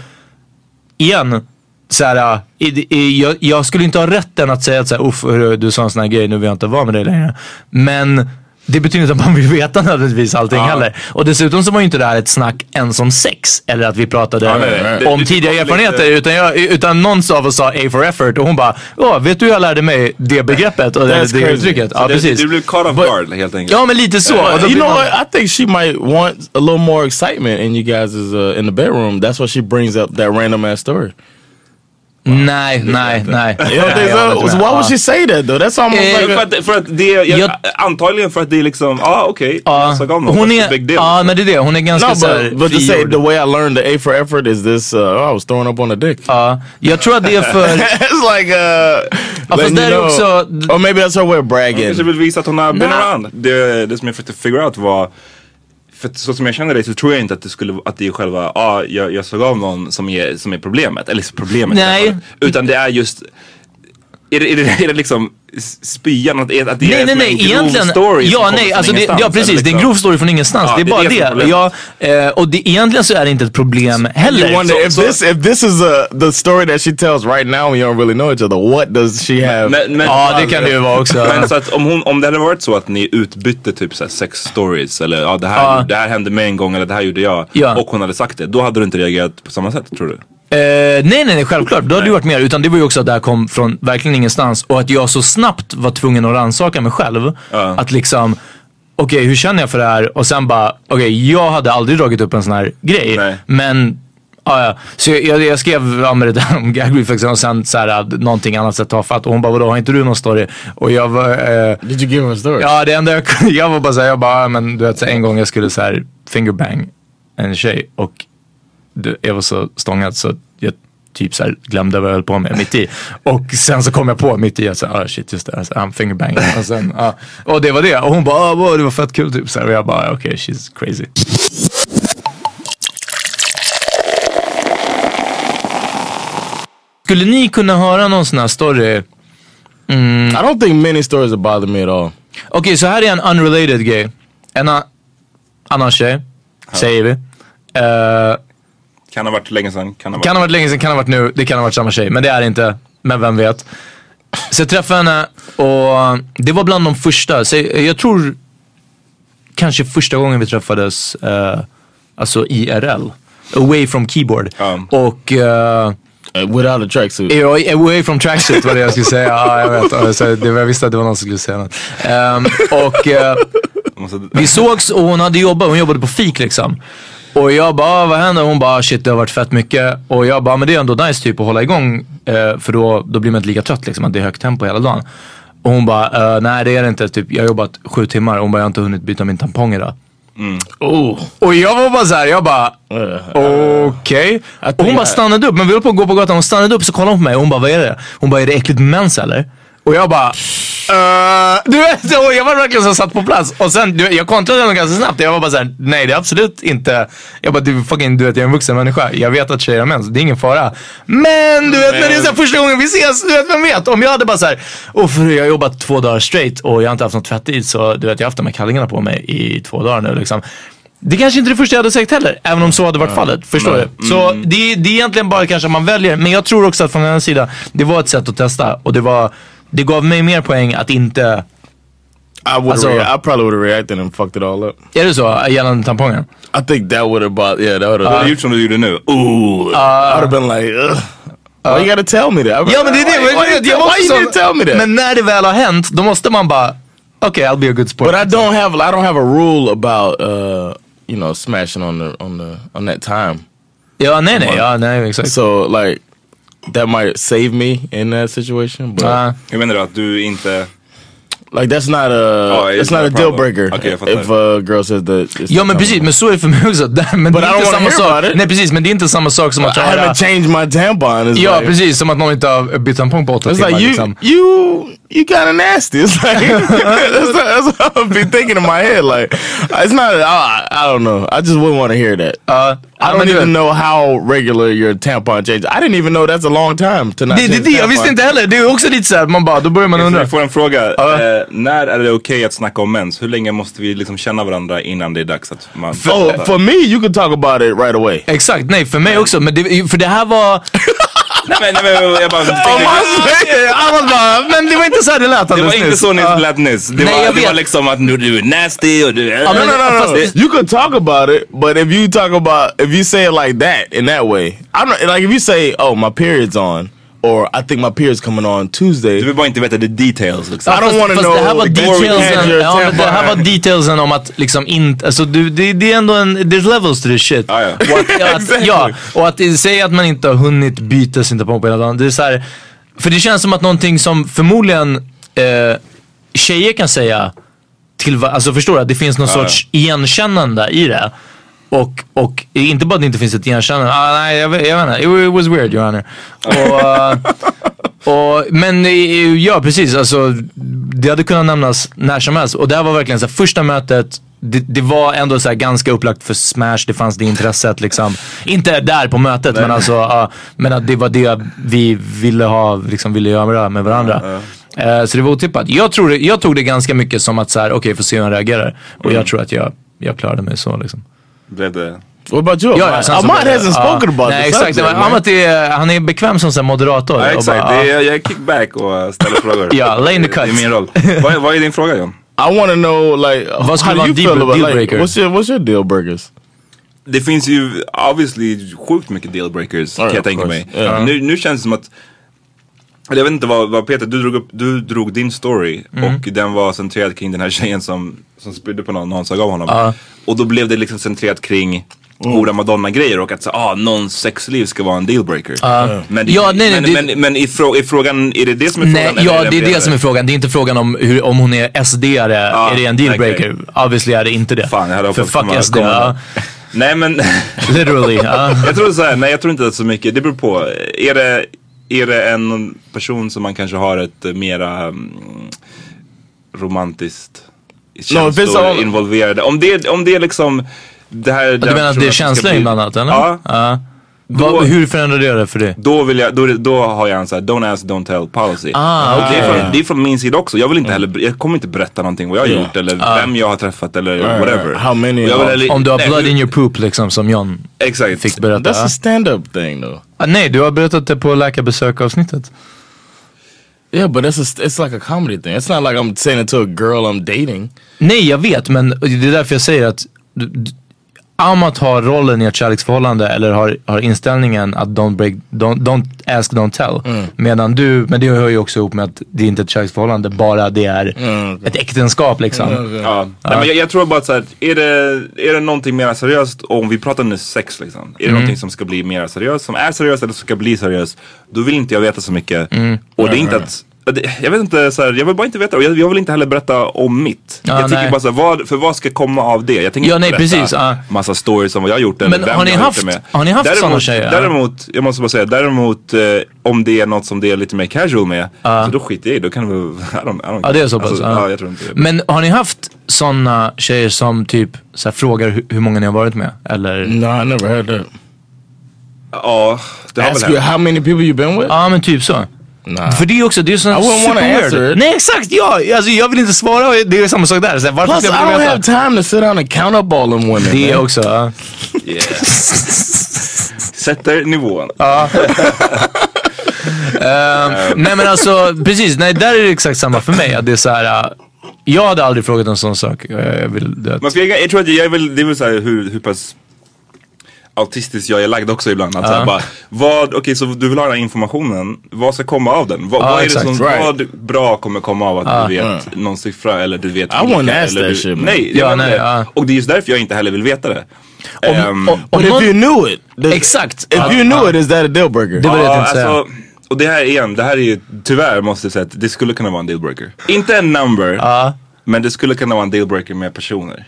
S3: igen, så här, eh, i, i, jag, jag skulle inte ha rätten att säga att så här, Uff, hörru, du sa en sån här grej, nu vill jag inte vara med dig längre. Men det betyder inte att man vill veta nödvändigtvis allting heller. Och dessutom så var ju inte det här ett snack ens om sex. Eller att vi pratade
S2: nej, nej. Det-
S3: om
S2: det-
S3: tidigare
S2: det-
S3: erfarenheter. Utan, jag, utan någon av oss sa A for effort och hon bara, ja vet du hur jag lärde mig det begreppet och det,
S5: That's
S3: det
S5: crazy.
S3: uttrycket. Ja,
S2: det,
S3: precis.
S2: det blir caught off
S3: But-
S2: guard helt enkelt.
S3: Ja men lite så. Och då
S5: you
S3: blir
S5: know
S3: man-
S5: what? I think she might want a little more excitement in you guys is uh, in the bedroom. That's why she brings up that random ass story.
S3: Nej, nej, nej.
S5: You know,
S3: Nej, jag håller
S5: so,
S3: inte med.
S5: why
S3: Ja.
S5: would she say that though? That's almost
S3: Eh,
S5: like
S2: För
S5: a,
S2: att, för att det, jag,
S3: Jag-
S2: antagligen för att det är liksom, ja ah, okej,
S3: Ja.
S2: jag såg om någon.
S3: Hon
S2: What's the
S3: är,
S2: big deal?
S3: ja men det är det. Hon är ganska
S5: no,
S3: så här
S5: but, but to say
S3: frigjord.
S5: the way I learned the A for effort is this. Uh, oh, I was throwing up on a dick.
S3: Ja. Jag tror att det är
S2: (laughs)
S3: för...
S5: (laughs) it's like uh,
S3: Ja, fast
S5: letting you
S3: där är
S5: know.
S3: också-
S5: or maybe that's her way of
S2: Hon kanske
S5: bragging.
S2: vill visa att hon har been
S3: Nej.
S2: around. Det, det som jag försökte figure out var, för att så som jag känner dig så tror jag inte att det, skulle, att det är själva, ja ah, jag, jag såg av någon som är, som är problemet. Eller liksom problemet. i det här
S3: Nej.
S2: fallet. Utan det är just, är det, är det, är det liksom s- spyan? Att, att det
S3: Nej,
S2: är
S3: nej,
S2: som en
S3: nej,
S2: grov
S3: egentligen.
S2: story som
S3: ja,
S2: kommer
S3: nej,
S2: från
S3: alltså det,
S2: ingenstans,
S3: ja, precis.
S2: eller
S3: Det är en
S2: liksom-
S3: grov story från ingenstans.
S2: Ja,
S3: det är
S2: det är
S3: bara
S2: det som är
S3: det.
S2: problemet.
S3: Ja, eh, och det, egentligen så är det inte ett problem heller.
S5: You wonder
S2: So-
S5: if
S2: so-
S5: this if this is uh, the story that she tells right now when you don't really know each other. What does she have?
S2: Men, men,
S5: Oh,
S3: Ja, det kan det ju vara
S5: uh.
S3: också.
S2: Men så att om, hon, om det hade varit så att ni utbytte typ så här sex stories eller ja, det, här,
S3: Ja.
S2: det här hände mig en gång eller det här gjorde jag
S3: Ja.
S2: och hon hade sagt det, då hade du inte reagerat på samma sätt tror du?
S3: Eh, nej, nej, nej, självklart. Då hade det varit mer. Utan det var ju också att det här kom från verkligen ingenstans. Och att jag så snabbt var tvungen att rannsaka mig själv. Att liksom, okej, hur känner jag för det här? Och sen bara, okej, jag hade aldrig dragit upp en sån här grej.
S2: Nej.
S3: Men, ja, ja. Så jag, jag, jag skrev ja, med det där om gag reflexen och sen så här, att någonting annat sätt har fatt. Och hon bara, vadå, har inte du någon story? Och jag var... eh,
S5: Did you give her a story?
S3: Ja, det enda jag kunde, jag var bara såhär, jag bara, ja, men du vet så här, en gång jag skulle såhär fingerbang en tjej och det, jag var så stångad så att jag typ såhär glömde vad jag höll på med mitt i. Och sen så kom jag på mitt i att såhär, ah shit just det, alltså, I'm fingerbanging. Och, sen, ja. och det var det. Och hon bara, ah, wow, det var fett kul typ. Så här, och jag bara, okej she's crazy. Skulle ni kunna höra någon sån här story
S5: I don't think many stories have bothered me at all.
S3: Okej, så här är en unrelated grej. En a- annan tjej, säger vi. Eh,
S2: Kan ha varit länge sedan, kan ha varit...
S3: kan ha varit länge sedan, kan ha varit nu, det kan ha varit samma tjej. Men det är det inte. Men vem vet. Så jag träffade henne och det var bland de första. Så jag jag tror kanske första gången vi träffades, eh, alltså IRL. Away from keyboard.
S2: Ja.
S3: Och eh,
S5: Uh, without a tracksuit.
S3: Ja, away from tracksuit var det jag skulle säga. Ja, jag vet. Alltså, det, jag visste att det var någon som skulle säga något. Ehm, och eh, vi sågs och hon hade jobbat, hon jobbade på fik liksom. Och jag bara, ah, vad händer? Hon bara, shit det har varit fett mycket. Och jag bara, men det är ändå nice typ att hålla igång. eh, för då, då blir man inte lika trött liksom, att det är högt tempo hela dagen. Och hon bara, eh, nej det är det inte. Typ, jag har jobbat sju timmar. Hon bara, jag har inte hunnit byta min tampong idag. Oh. Och jag var bara såhär, jag bara okej. Och hon bara stannade upp, men vi höll på att gå på gatan. Hon stannade upp så kollade hon på mig och hon bara, vad är det? Hon bara, är det äckligt mens eller? Och jag bara, eh, du vet, och jag var verkligen så satt på plats. Och sen, du, vet, jag kontrade henne ganska snabbt. Jag var bara såhär, nej det är absolut inte. Jag bara, du fucking, du vet jag är en vuxen människa. Jag vet att tjejer har mens, det är ingen fara. Men du vet, när det är så här första gången vi ses, du vet, vem vet? Om jag hade bara såhär, oh, för jag har jobbat två dagar straight och jag har inte haft någon tvättid så du vet, jag har haft de här kallingarna på mig i två dagar nu liksom. Det kanske inte är det första jag hade sagt heller, även om så hade varit fallet. Förstår du? Så det, det är egentligen bara kanske att man väljer. Men jag tror också att från hennes sida, det var ett sätt att testa. Och det, var, det gav mig mer poäng att inte...
S5: I would.
S3: Alltså-
S5: I probably would have reacted and fucked it all up.
S3: Är det så? Gällande tampongen?
S5: I think that would have bothered. Yeah, that would have.
S2: Du hade gjort som du gjorde nu. Oh! Ooh.
S5: Uh, I'd have been like, Ugh. why you gotta tell me that? I'd be
S3: Ja
S5: like,
S3: men det är det.
S5: Why, why,
S3: men,
S5: you
S3: jag
S5: tell- why
S3: måste
S5: you
S3: så-
S5: didn't tell me that?
S3: Men när det väl har hänt, då måste man bara, okej I'll be a good sport.
S5: But I don't have I don't have a rule about uh you know smashing on the on the on that time.
S3: ja, nej nej, ja, nej exakt.
S5: So like that might save me in that situation. But
S3: Ah.
S2: Hur menar du? Att du inte...
S5: like that's not a
S2: it's
S5: it's
S2: not
S5: Oh, not a
S2: a
S5: deal
S2: problem.
S5: breaker
S2: Okej, jag fattar.
S5: if a girl says that. it's
S3: Ja
S5: not
S3: men precis,
S5: problem.
S3: men så är det för mig också. (laughs) Där- Men
S5: But
S3: det
S5: I
S3: är
S5: don't
S3: inte
S5: wanna
S3: samma
S5: hear
S3: sak.
S5: about it.
S3: Nej precis, men det är inte samma sak som att
S5: I
S3: höra...
S5: haven't changed my tampon. It's
S3: Ja
S5: like,
S3: precis, som att någon inte har bytt tampong på åtta
S5: It's
S3: timmar
S5: like you,
S3: liksom.
S5: you, you kind of nasty. (laughs) It's like that's, that's what I've been thinking in my head. Like it's not. I, I don't know. I just wouldn't want to hear that.
S3: Ja,
S5: Uh, I
S3: men
S5: don't
S3: du vet.
S5: even know how regular your tampon change. I didn't even know that's a long time to not
S3: Det, det,
S5: change
S3: det, jag
S5: tampon.
S3: visste inte heller. Det är också lite såhär, man bara, då börjar man undra.
S2: Jag får en fråga. Eh, när är det okej att snacka om mens? Hur länge måste vi liksom känna varandra innan det är dags att man...
S5: Oh, for me, you could talk about it right away.
S3: Exakt, nej för mig också. Men det, för det här (laughs) var...
S2: nej, men, nej, men, jag bara,
S3: Jag var bara, men det var inte så här det lät
S2: det var
S3: alldeles
S2: inte
S3: nyss.
S2: så ni lät nyss. Det,
S3: Nej, jag
S2: var, det
S3: vet.
S2: var liksom att nu du är nasty och du...
S3: Ja, men-
S5: (laughs) No, no, no,
S3: fast
S5: no.
S3: det-
S5: You could talk about it, but if you talk about if you say it like that in that way, I don't like if you say, "Oh, my period's on," or "I think my period's coming on Tuesday."
S2: Du vill bara inte veta the details liksom.
S5: I don't
S3: Fast-
S5: wanna
S3: fast
S5: know
S3: Det här var
S5: the glory
S3: detailsen,
S5: and your
S3: ja, men det här var
S5: tampon.
S3: detailsen om att liksom inte, alltså du, det, det är ändå en, there's levels to this shit.
S2: Ja, ja.
S3: Och att, ja, att, ja, och att det- säga att man inte har hunnit byta sin tampong på hela dagen. Det är så här, för det känns som att någonting som förmodligen eh, tjejer kan säga till, va- alltså förstår du? Att det finns någon sorts igenkännande i det. Och, och inte bara att det inte finns ett igenkännande. Ah, nej, jag, vet- jag vet inte. It was weird your honor. eh, Och, och, men eh, ja, precis. Alltså, det hade kunnat nämnas när som helst. Och det här var verkligen så här, första mötet. Det, det var ändå så här ganska upplagt för smash. Det fanns det intresset liksom. Inte där på mötet men alltså. ja, men att det var det vi ville ha, liksom ville göra med varandra. Eh, så det var otippat. Jag, tror, det- jag tog det ganska mycket som att så här, okej, får se hur han reagerar. Och
S2: Mm.
S3: jag tror att jag, jag klarade mig så liksom.
S2: Blev det...
S5: What about you?
S3: Ja, ja,
S5: Ahmad,
S2: Ah,
S3: sen så
S5: Ahmad
S3: blev det-
S5: hasn't
S3: ja.
S5: spoken about
S3: Nej,
S5: this
S3: exakt.
S5: subject,
S3: Subject,
S5: man.
S3: Amat är, han är bekväm som så här moderator.
S2: Ja
S3: Och
S2: exakt,
S3: bara,
S2: det
S3: ja.
S2: är, jag är kickback och ställer frågor.
S3: Ja, lay in the
S2: Det är
S3: cuts.
S2: min
S3: (laughs)
S2: roll. Vad, vad är din fråga John?
S5: I want to know, like,
S3: Vad skulle
S5: how
S3: vara
S5: do you
S3: en deal-
S5: feel about
S3: deal
S5: like,
S3: breaker?
S5: what's your what's your deal breakers?
S2: Det finns ju obviously sjukt mycket dealbreakers
S5: Ja,
S2: kan jag
S5: of
S2: tänka
S5: course.
S2: mig.
S5: Ja.
S2: Nu, nu känns det som att eller jag vet inte vad, vad Peter, du drog, upp, du drog din story
S3: Mm.
S2: och den var centrerad kring den här tjejen som, som spydde på någon och han sög av honom. Och då blev det liksom centrerat kring
S3: Mm.
S2: hora madonna grejer och att så, ah, någons sexliv ska vara en dealbreaker. Men,
S3: Ja, nej, nej,
S2: men,
S3: det-
S2: men, men i, frå, i frågan, är det det som är
S3: Nej,
S2: frågan? eller
S3: ja,
S2: den
S3: det är det
S2: bredare?
S3: som är frågan. Det är inte frågan om, hur, om hon är SD-are.
S2: Ja,
S3: är det en dealbreaker? Obviously är det inte det.
S2: Fan, jag hade
S3: För
S2: hoppats
S3: fuck
S2: komma-
S3: SD.
S2: komma-
S3: ja.
S2: Nej men
S3: Literally.
S2: (laughs)
S3: ja.
S2: Jag tror så här, nej jag tror inte att så mycket, det beror på. Är det, är det en person som man kanske har ett eh, mera mm, romantiskt känslor
S5: finns all-
S2: involverade. Om det, om det är liksom det här,
S3: Du menar att det är känslor inblandat eller?
S2: Ja.
S3: Ja. Vad, hur förändrar det det för dig?
S2: Då, vill jag, då, då har jag en sån här don't ask, don't tell policy.
S3: Ah,
S2: Och det, är från, det är från min sida också. Jag vill inte heller, jag kommer inte berätta någonting vad jag har
S5: Ja.
S2: gjort eller
S3: Ah.
S2: vem jag har träffat eller whatever.
S5: How many
S2: Jag vill
S5: of-
S2: heller-
S3: Om du har
S2: nej,
S3: blood
S2: hur-
S3: in your poop liksom som John
S2: Exakt.
S3: fick berätta.
S5: That's a stand-up thing, though.
S3: Ah, nej, du har berättat det på läkarbesök-avsnittet.
S5: Yeah, but that's a, it's like a comedy thing. It's not like I'm saying it to a girl I'm dating.
S3: Nej, jag vet, men det är därför jag säger att d- d- Amat har rollen i ett kärleksförhållande eller har, har inställningen att don't, break, don't, don't ask, don't tell.
S5: Mm.
S3: Medan du, men det hör ju också ihop med att det inte är ett kärleksförhållande, bara det är
S5: Mm,
S3: ett äktenskap liksom.
S2: Ja. Nej, men jag, jag tror bara att så här, är, det, är det någonting mer seriöst, och om vi pratar nu sex liksom. Är
S3: Mm.
S2: det någonting som ska bli mer seriöst, som är seriöst eller som ska bli seriöst. Då vill inte jag veta så mycket.
S3: Mm.
S2: Och det är inte att det- jag vet inte, så här, jag vill bara inte veta och jag, jag vill inte heller berätta om mitt.
S3: Ja,
S2: jag tycker
S3: nej.
S2: bara så här, vad, för vad ska komma av det? Jag tänker
S3: Ja,
S2: inte
S3: nej,
S2: berätta
S3: precis, ja.
S2: massa stories om vad jag har gjort eller
S3: Men
S2: vem
S3: har ni
S2: jag gjort
S3: haft-
S2: det med.
S3: har ni haft
S2: däremot,
S3: såna tjejer?
S2: Däremot, jag måste bara säga, däremot eh, om det är något som det är lite mer casual med. Så då skiter jag (laughs) i det. då kan det väl, I don't, I don't
S3: Ja, det är så pass.
S2: Alltså,
S3: ja.
S2: ja, jag tror inte det.
S3: Men har ni haft sådana tjejer som typ så här, frågar hur, hur många ni har varit med? Eller?
S5: No, I never heard that.
S2: Ja, det har väl
S5: Ask you
S2: hänt.
S5: how many people you've been with?
S3: Ja, men typ så.
S5: nah.
S3: För det är också, det är
S5: I
S3: sån
S5: wouldn't wanna answer
S3: superweird.
S5: it.
S3: Nej exakt, ja! Alltså, jag vill inte svara, det är samma sak där. Så här, varför
S5: Plus,
S3: ska
S5: I
S3: jag
S5: don't
S3: veta?
S5: have time to sit down and count up all them women.
S3: Det
S5: man.
S3: också. ja.
S2: Sätter nivån.
S3: Nej men alltså precis, nej där är det exakt samma för mig. Att det är så här, äh, jag hade aldrig frågat en sån sak. äh, Jag, jag vill, det,
S2: Man ska, jag, jag tror att jag är väl, det är väl så här hur, hur pass autistisk jag är lagd också ibland. Att så här bara, vad, okej så du vill ha den här informationen, vad ska komma av den? Vad,
S3: Ja,
S2: vad är
S3: exakt.
S2: det som,
S5: Right.
S2: vad bra kommer komma av att du vet någon siffra eller du vet
S5: I wouldn't ask
S2: eller
S5: that
S2: du,
S5: shit, man.
S2: Nej, jag
S3: Ja,
S2: vet
S3: nej,
S2: det.
S3: ja.
S2: Och det är just därför jag inte heller vill veta det. Ehm,
S5: But if
S6: någon-
S5: you knew it, does-
S6: Exakt.
S5: If
S6: Ja,
S5: you knew it, is that a Uh, deal breaker? Uh,
S6: Det var det jag
S2: Ja,
S6: tänkte säga.
S2: alltså, och det här igen, det här är ju tyvärr måste jag säga att det skulle kunna vara en dealbreaker. Inte en number, men det skulle kunna vara en dealbreaker med personer.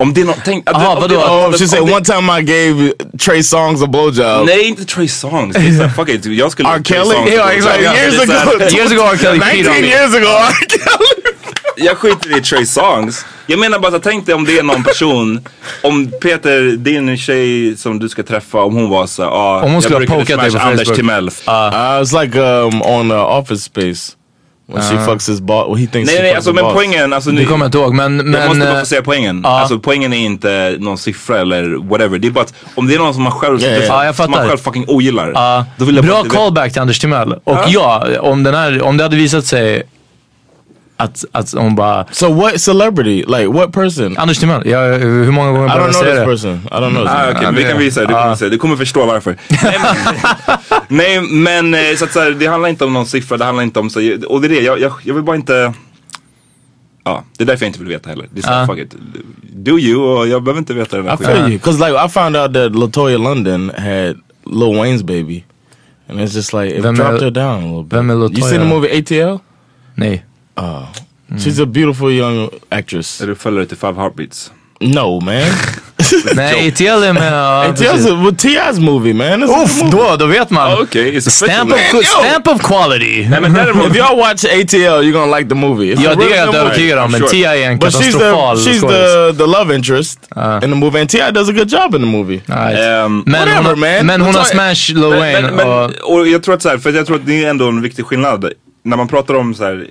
S2: Om det är något, tänk...
S6: Aha,
S2: om
S6: vadå?
S2: det är något-
S5: Oh, she
S2: om
S5: said
S2: det-
S5: one time I gave Trey Songs a blowjob.
S2: Nej, inte Trey Songs. Det är så här, fuck it, jag skulle...
S5: R.
S2: Trey
S5: Kelly?
S2: Songz-
S5: Yeah, exactly.
S2: Ja,
S5: Years
S2: det är så här-
S5: ago.
S6: Years ago R. Kelly cheated on
S5: 19
S6: me.
S5: years ago, R. Kelly.
S2: Jag skiter i Trey Songs. Jag menar bara, så tänk dig om det är någon person. Om Peter, din tjej som du ska träffa, om hon var så här, ah,
S3: hon
S2: jag
S3: skulle ha
S2: brukade
S3: pokat dig
S2: smasha
S3: på
S2: Anders
S3: Facebook.
S2: Timell.
S5: Uh, it's like um, on uh, Office Space when she fucks his boss. Well, he thinks
S2: nej,
S5: she
S2: nej,
S5: fucks
S2: alltså
S5: his
S2: men
S5: boss.
S2: poängen, alltså
S3: Det
S2: nu...
S3: kommer jag inte ihåg, men... men
S2: jag måste bara
S3: eh,
S2: få säga poängen. Alltså poängen är inte någon siffra eller whatever. Det är bara att om det är någon som man själv,
S5: Ja, ja, ja.
S2: som-
S3: Ja, jag
S2: som man
S3: fattar.
S2: själv fucking ogillar.
S3: Ja,
S2: då vill jag bara
S3: äh, bra
S2: att du vet-
S3: callback till Anders Timell. Och ja, om, den här, om det hade visat sig att, att hon bara...
S5: So what celebrity? Like what person?
S3: Anders Timell, ja, hur många gånger
S5: I
S3: behöver
S5: don't
S3: jag
S5: know
S3: säga
S5: this
S3: det?
S5: person. I don't know. this
S2: Ah,
S5: person.
S2: okay, men vi kan visa det, du kommer, se, du kommer förstå varför. Nej men, (laughs) nej, men eh, så att, så här, det handlar inte om någon siffra, det handlar inte om så, och det är det, jag, jag, jag vill bara inte... Ja, det är därför jag inte vill veta heller. Det är så, här, fuck it. Do you och jag behöver inte veta den här
S5: I feel
S2: skiten.
S5: you. Cause like I found out that Latoya London had Lil Wayne's baby, and it's just like it
S3: Vem är-
S5: dropped her down a little bit.
S3: vem är
S5: You seen the
S3: LaToya?
S5: movie ATL?
S2: (laughs)
S3: Nej.
S6: Mm-hmm.
S5: She's a beautiful young actress.
S2: Är du följare till Five Heartbeats?
S6: (laughs)
S5: No man,
S3: Nej, ATL är med...
S2: (laughs)
S3: ja,
S2: E
S5: ATL's
S3: precis.
S5: a, with Ti's movie, man. It's a
S3: Uff,
S5: movie.
S3: då, då vet man.
S2: Ah, Okej, okay.
S3: Stamp, of,
S5: Yo!
S3: stamp of quality.
S2: Nej men
S5: (laughs)
S2: däremot,
S5: If y'all watch ATL, you're gonna like the movie. It's
S3: (laughs) Ja,
S5: a
S3: det
S2: (laughs)
S5: real
S3: är jag
S5: good
S3: helt
S5: movie.
S3: övertygad om. Men
S2: sure.
S3: Tia är en
S5: But she's the
S3: katastrofal
S5: she's
S3: skådis.
S5: the the love interest in the movie, and Ti does a good job in the movie.
S3: Right.
S5: Um,
S2: Ehm,
S3: Men hon,
S5: whatever,
S3: har-
S5: Uh. man.
S3: men hon har
S5: Latoya-
S3: smash Lil
S2: Men,
S3: Wayne
S2: men, men,
S3: och...
S2: och jag tror att så här, för jag tror att det är ändå en viktig skillnad. När man pratar om så här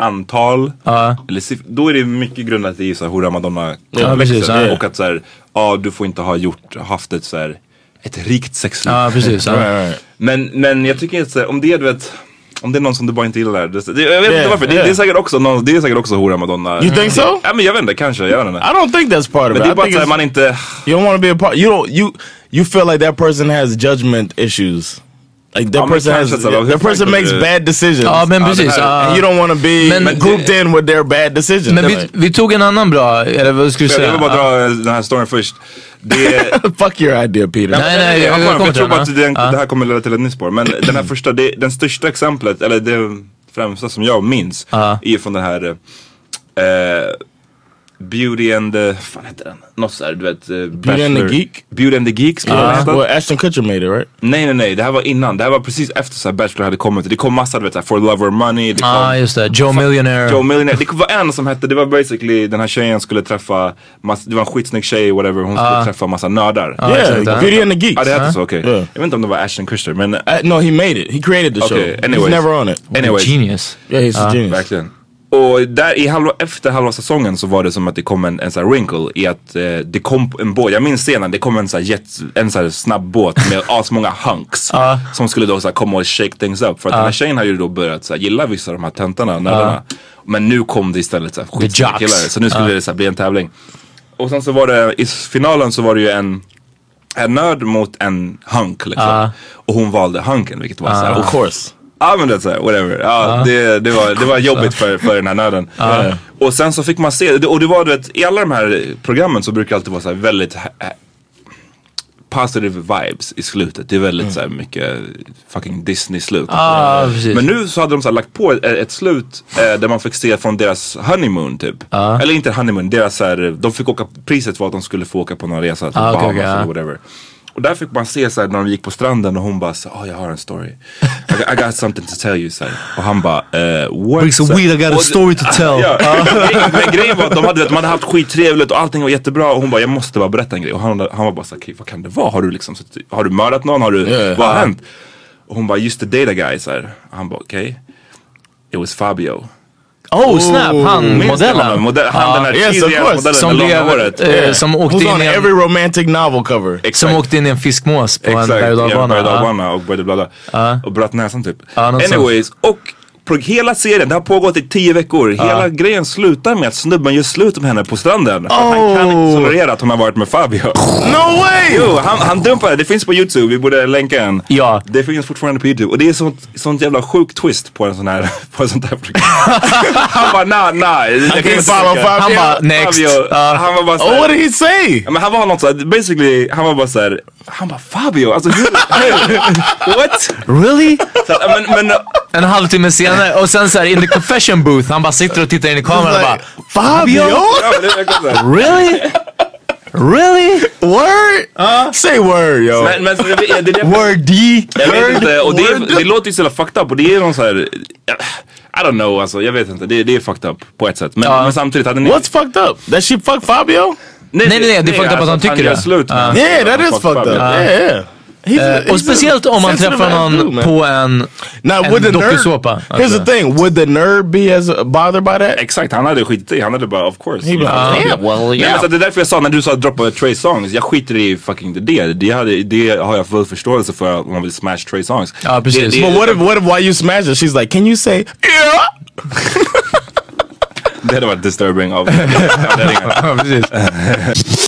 S2: antal, eller siff- då är det mycket grundat i så här hora madonna liksom.
S3: Ja, precis, ja.
S2: Och att så här, ja du får inte ha gjort, haft ett så här, ett rikt sexliv.
S3: Ja, precis. ja.
S2: Men, men jag tycker att så här, om det är du vet, om det är någon som du bara inte gillar. Det, det, jag vet
S5: Yeah,
S2: inte varför, det,
S5: yeah.
S2: det är säkert också, någon, det är säkert också hora madonna.
S5: You think so?
S2: Ja men jag vet inte, kanske, jag vet inte.
S5: I don't think that's part of
S2: Men
S5: it.
S2: det
S5: I
S2: är bara att
S5: think
S2: så här,
S5: it's-
S2: man inte,
S5: You don't want to be a part. You don't. You you feel like that person has judgment issues. Like that
S2: I'm
S5: person has.
S2: conscious of-
S5: That person makes bad decisions.
S3: Ja, men
S2: det
S3: precis.
S2: här-
S3: ja.
S5: and you don't want to be
S3: Men-
S5: grouped in with their bad decisions.
S3: Men vi,
S5: Like,
S3: vi tog en annan bra, eller vad skulle du
S2: jag, jag vill
S3: säga?
S2: bara dra den här storyn först. Det,
S5: fuck your idea, Peter.
S3: Nej, nej,
S2: jag,
S3: jag, jag kommer
S2: jag
S3: till
S2: tror
S3: den.
S2: bara att
S3: ja.
S2: det, det här kommer leda till ett nytt spår. Men
S3: (clears throat)
S2: den här första, det, den största exemplet, eller det främsta som jag minns, är från den här eh, Beauty and the, fan heter den? Något sådär, du vet. eh, Bachelor-
S5: and the Geek?
S2: Beauty and the Geek skulle den heta.
S5: Well, Ashton Kutcher made it, right?
S2: Nej nej nej, det här var innan. Det här var precis efter så här Bachelor hade kommit. Det kom massa, du vet, så här, For Love or Money. Det kom,
S3: Ja, just det. Joe Millionaire.
S2: Joe Millionaire. Det var en som hette, det var basically den här tjejen skulle träffa, mass, det var en skitsnygg tjej whatever, hon skulle träffa massa nördar. Ja
S5: yeah,
S3: exakt, ja.
S5: Beauty and the Geeks.
S2: det hette så, okej.
S5: Ja.
S2: Jag vet inte om det var Ashton Kutcher men
S5: Uh, no, he made it. He created the
S2: Okay,
S5: show.
S2: anyways.
S5: He's never on it.
S2: anyways.
S3: Genius.
S5: Yeah, he's a genius.
S2: Verkligen. Och där i halva, efter halva säsongen så var det som att det kom en, en sån här wrinkle i att eh, det kom en båt, jag minns scenen, det kom en sån här, jet, en sån här snabb båt med asmånga hunks. Som skulle då så här komma och shake things up. För att den här tjejen har ju då börjat så här, gilla vissa av de här töntarna, nördarna. Men nu kom det istället så här, skitsnygga
S3: jocks.
S2: killar. Så nu skulle det så här, bli en tävling. Och sen så var det, i finalen så var det ju en en nörd mot en hunk liksom. Och hon valde hunken vilket var såhär,
S5: Of course.
S2: Ja men det är såhär, whatever. Ja, det, det, var, det var
S3: (laughs)
S2: jobbigt för, för den här nöden. Eh, Och sen så fick man se, och det var du vet, i alla de här programmen så brukar det alltid vara så här väldigt eh, positive vibes i slutet. Det är väldigt så här mycket fucking Disney-slut.
S3: Ja, Mm. Ah, precis.
S2: Men nu så hade de så här lagt på ett, ett slut eh, där man fick se från deras honeymoon typ.
S3: Ah.
S2: Eller inte honeymoon, deras så här, de fick åka, priset var att de skulle få åka på någon resa till
S3: Ah, okej,
S2: Bahamas
S3: okej,
S2: eller
S3: ja.
S2: whatever. Och där fick man se så här, när de gick på stranden och hon bara så "Ah, jag har en story. I got, I got something to tell you. Så här. Och han bara, uh, what?
S3: Bring some
S2: Så här.
S3: weed, I got a
S2: Och-
S3: story to tell.
S2: Ja. (laughs) Men grejen var att de hade, de hade haft skittrevligt och allting var jättebra och hon bara, jag måste bara berätta en grej. Och han, han var bara så här, "Okej, vad kan det vara? Har du liksom, suttit- har du mördat någon? Har du,
S5: Yeah.
S2: vad har hänt? Och hon bara, just the data guy. Så här. Han bara, okej. It was Fabio.
S3: Oh snap, han
S2: Minns ni honom?
S3: modellen.
S2: Modell, han den här
S5: Yes, of
S2: cheesy
S5: course.
S2: modellen
S3: Som,
S2: med
S3: blev,
S2: långa håret.
S3: eh, som, åkte
S5: Who's
S3: in
S5: on
S3: i en,
S5: every romantic novel cover?
S3: som åkte in i en fiskmås på en
S2: Exakt,
S3: berg och
S2: i en berg och
S3: dalbana.
S2: dalbana och började blada. Och bröt näsan typ.
S3: Ja, något sånt.
S2: Anyways, och Pro- Hela serien, det har pågått i tio veckor. Hela grejen slutar med att snubben gör slut med henne på stranden. För att Han kan
S3: Oh.
S2: inte tolerera att hon har varit med Fabio.
S3: (laughs)
S5: No way!
S2: Jo, han, han dumpar det. Det finns på YouTube. Vi borde länka en.
S7: Ja.
S2: Det finns fortfarande på YouTube. Och det är sånt, sånt jävla sjuk twist på en sån här, (laughs) på en sån här
S3: (laughs)
S2: program. han bara, nah, nah. Jag kan
S5: can't follow Fabio.
S7: Han bara, next.
S2: Fabio,
S7: Ja.
S2: Han var bara
S5: Oh,
S2: såhär.
S5: what did he say?
S2: Ja, men han var något såhär, basically, han var bara såhär, han bara Fabio, alltså hur, (laughs) what?
S7: Really?
S2: Så, här, men, men
S3: (laughs) En halvtimme senare och sen så här in the confession booth. Han bara sitter och tittar in i kameran och bara Fabio!
S2: Ja, men det är verkligen så här.
S3: Really? Really?
S5: Word? Say word, yo.
S2: Men, men så det, det, det, det,
S3: Wordy?
S2: jag vet inte, och det, det låter ju så jävla fucked up och det är någon såhär, I don't know alltså, jag vet inte, det, det är fucked up på ett sätt. Men, men samtidigt hade ni...
S5: What's fucked up? That she fucked Fabio?
S3: Nej, nej, nej, det är fucked up att han tycker
S2: alltså, gör
S3: det.
S2: Slut, med-
S5: Yeah,
S2: Han
S5: that is
S2: fucked
S5: fucked up. Yeah, yeah. He's a-
S3: Eh, Och
S5: he's a
S3: speciellt om man
S5: sensitive
S3: träffar
S5: ass
S3: någon
S5: dude, man.
S3: på en...
S5: Now,
S3: en
S5: would the
S3: dokusåpa,
S5: nerd, here's
S3: alltså.
S5: the thing, would the nerd be as bothered by that?
S2: Exakt, han hade skitit i. Han hade bara of course.
S5: He be like, yeah, well,
S2: Nej, men alltså-
S5: yeah.
S2: så det är därför jag sa när du sa droppa Trey Songs, jag skiter i fucking det. Det, hade, det har jag full förståelse för om man vill smash Trey Songs.
S3: Ja, precis.
S2: Det,
S5: But
S2: det,
S5: what if, what if why you smash it? She's like, can you say, yeah?
S2: det hade varit disturbing
S3: (laughs)
S2: av anledningar.
S7: Ja, precis.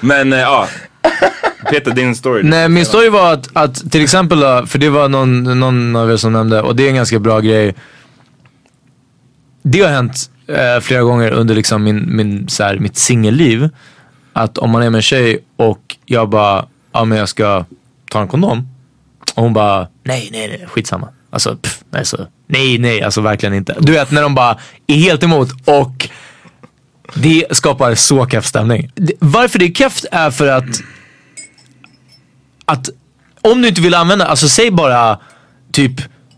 S2: Men eh, ja, Peter din story.
S3: Nej, min story var att, att till exempel då, för det var någon, någon av er som nämnde och det är en ganska bra grej. Det har hänt eh, flera gånger under liksom min, min, så här, mitt singelliv. Att om man är med en tjej och jag bara, ja men jag ska ta en kondom. Och hon bara, nej nej nej, skitsamma. Alltså, pff, nej, så, nej nej, alltså verkligen inte. Du vet när de bara är helt emot och det skapar så keff stämning. Det- Varför det är keft är för att att om du inte vill använda, alltså säg bara typ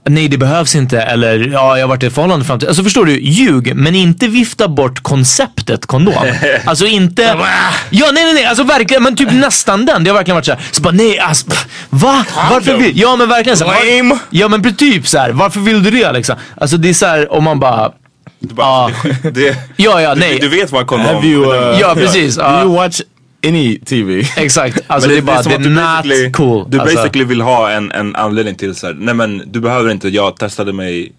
S3: nej det behövs inte eller ja jag har varit i ett förhållande fram till, alltså förstår du, ljug men inte vifta bort konceptet kondom. Alltså inte, ja nej nej nej, alltså verkligen, men typ nästan den, det har verkligen varit såhär, så bara nej alltså, pff, va? Varför vill, ja men verkligen såhär,
S5: Lame.
S3: ja men typ såhär, varför vill du det liksom? Alltså det är såhär om man bara,
S2: Du bara, det, det,
S3: ja ja
S2: du,
S3: nej, eh,
S2: du vet vad kondom
S5: Have you, uh,
S3: ja precis,
S5: do
S3: ja,
S5: you watch any TV?
S3: exakt, alltså
S2: Men
S3: det, är bara,
S2: som
S3: det
S2: att du
S3: är
S2: basically-
S3: not cool.
S2: Du
S3: alltså.
S2: basically vill ha en, en anledning till såhär, nej men du behöver inte, jag testade mig.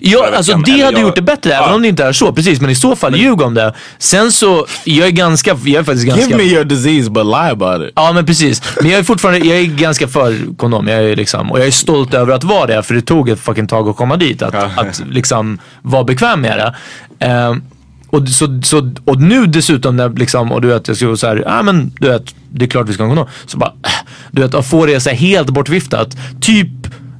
S3: Ja,
S2: förra
S3: alltså
S2: veckan,
S3: det
S2: eller
S3: hade
S2: jag-
S3: gjort det bättre, även
S2: Ja.
S3: om det inte är så. Precis, men i så fall, ljug om det. Sen så, jag är ganska, jag är faktiskt ganska...
S5: (laughs) Give me your disease, but lie about it.
S3: Ja men precis. Men jag är fortfarande, jag är ganska för kondom. Jag är liksom, och jag är stolt över att vara det, för det tog ett fucking tag att komma dit. Att, att liksom vara bekväm med det. Ehm, och, så, så, och nu dessutom, när liksom, och du vet, jag skulle vara såhär, ja ah, men du vet, det är klart vi ska ha en kondom. Så bara, äh, du vet, att få det så här helt bortviftat. Typ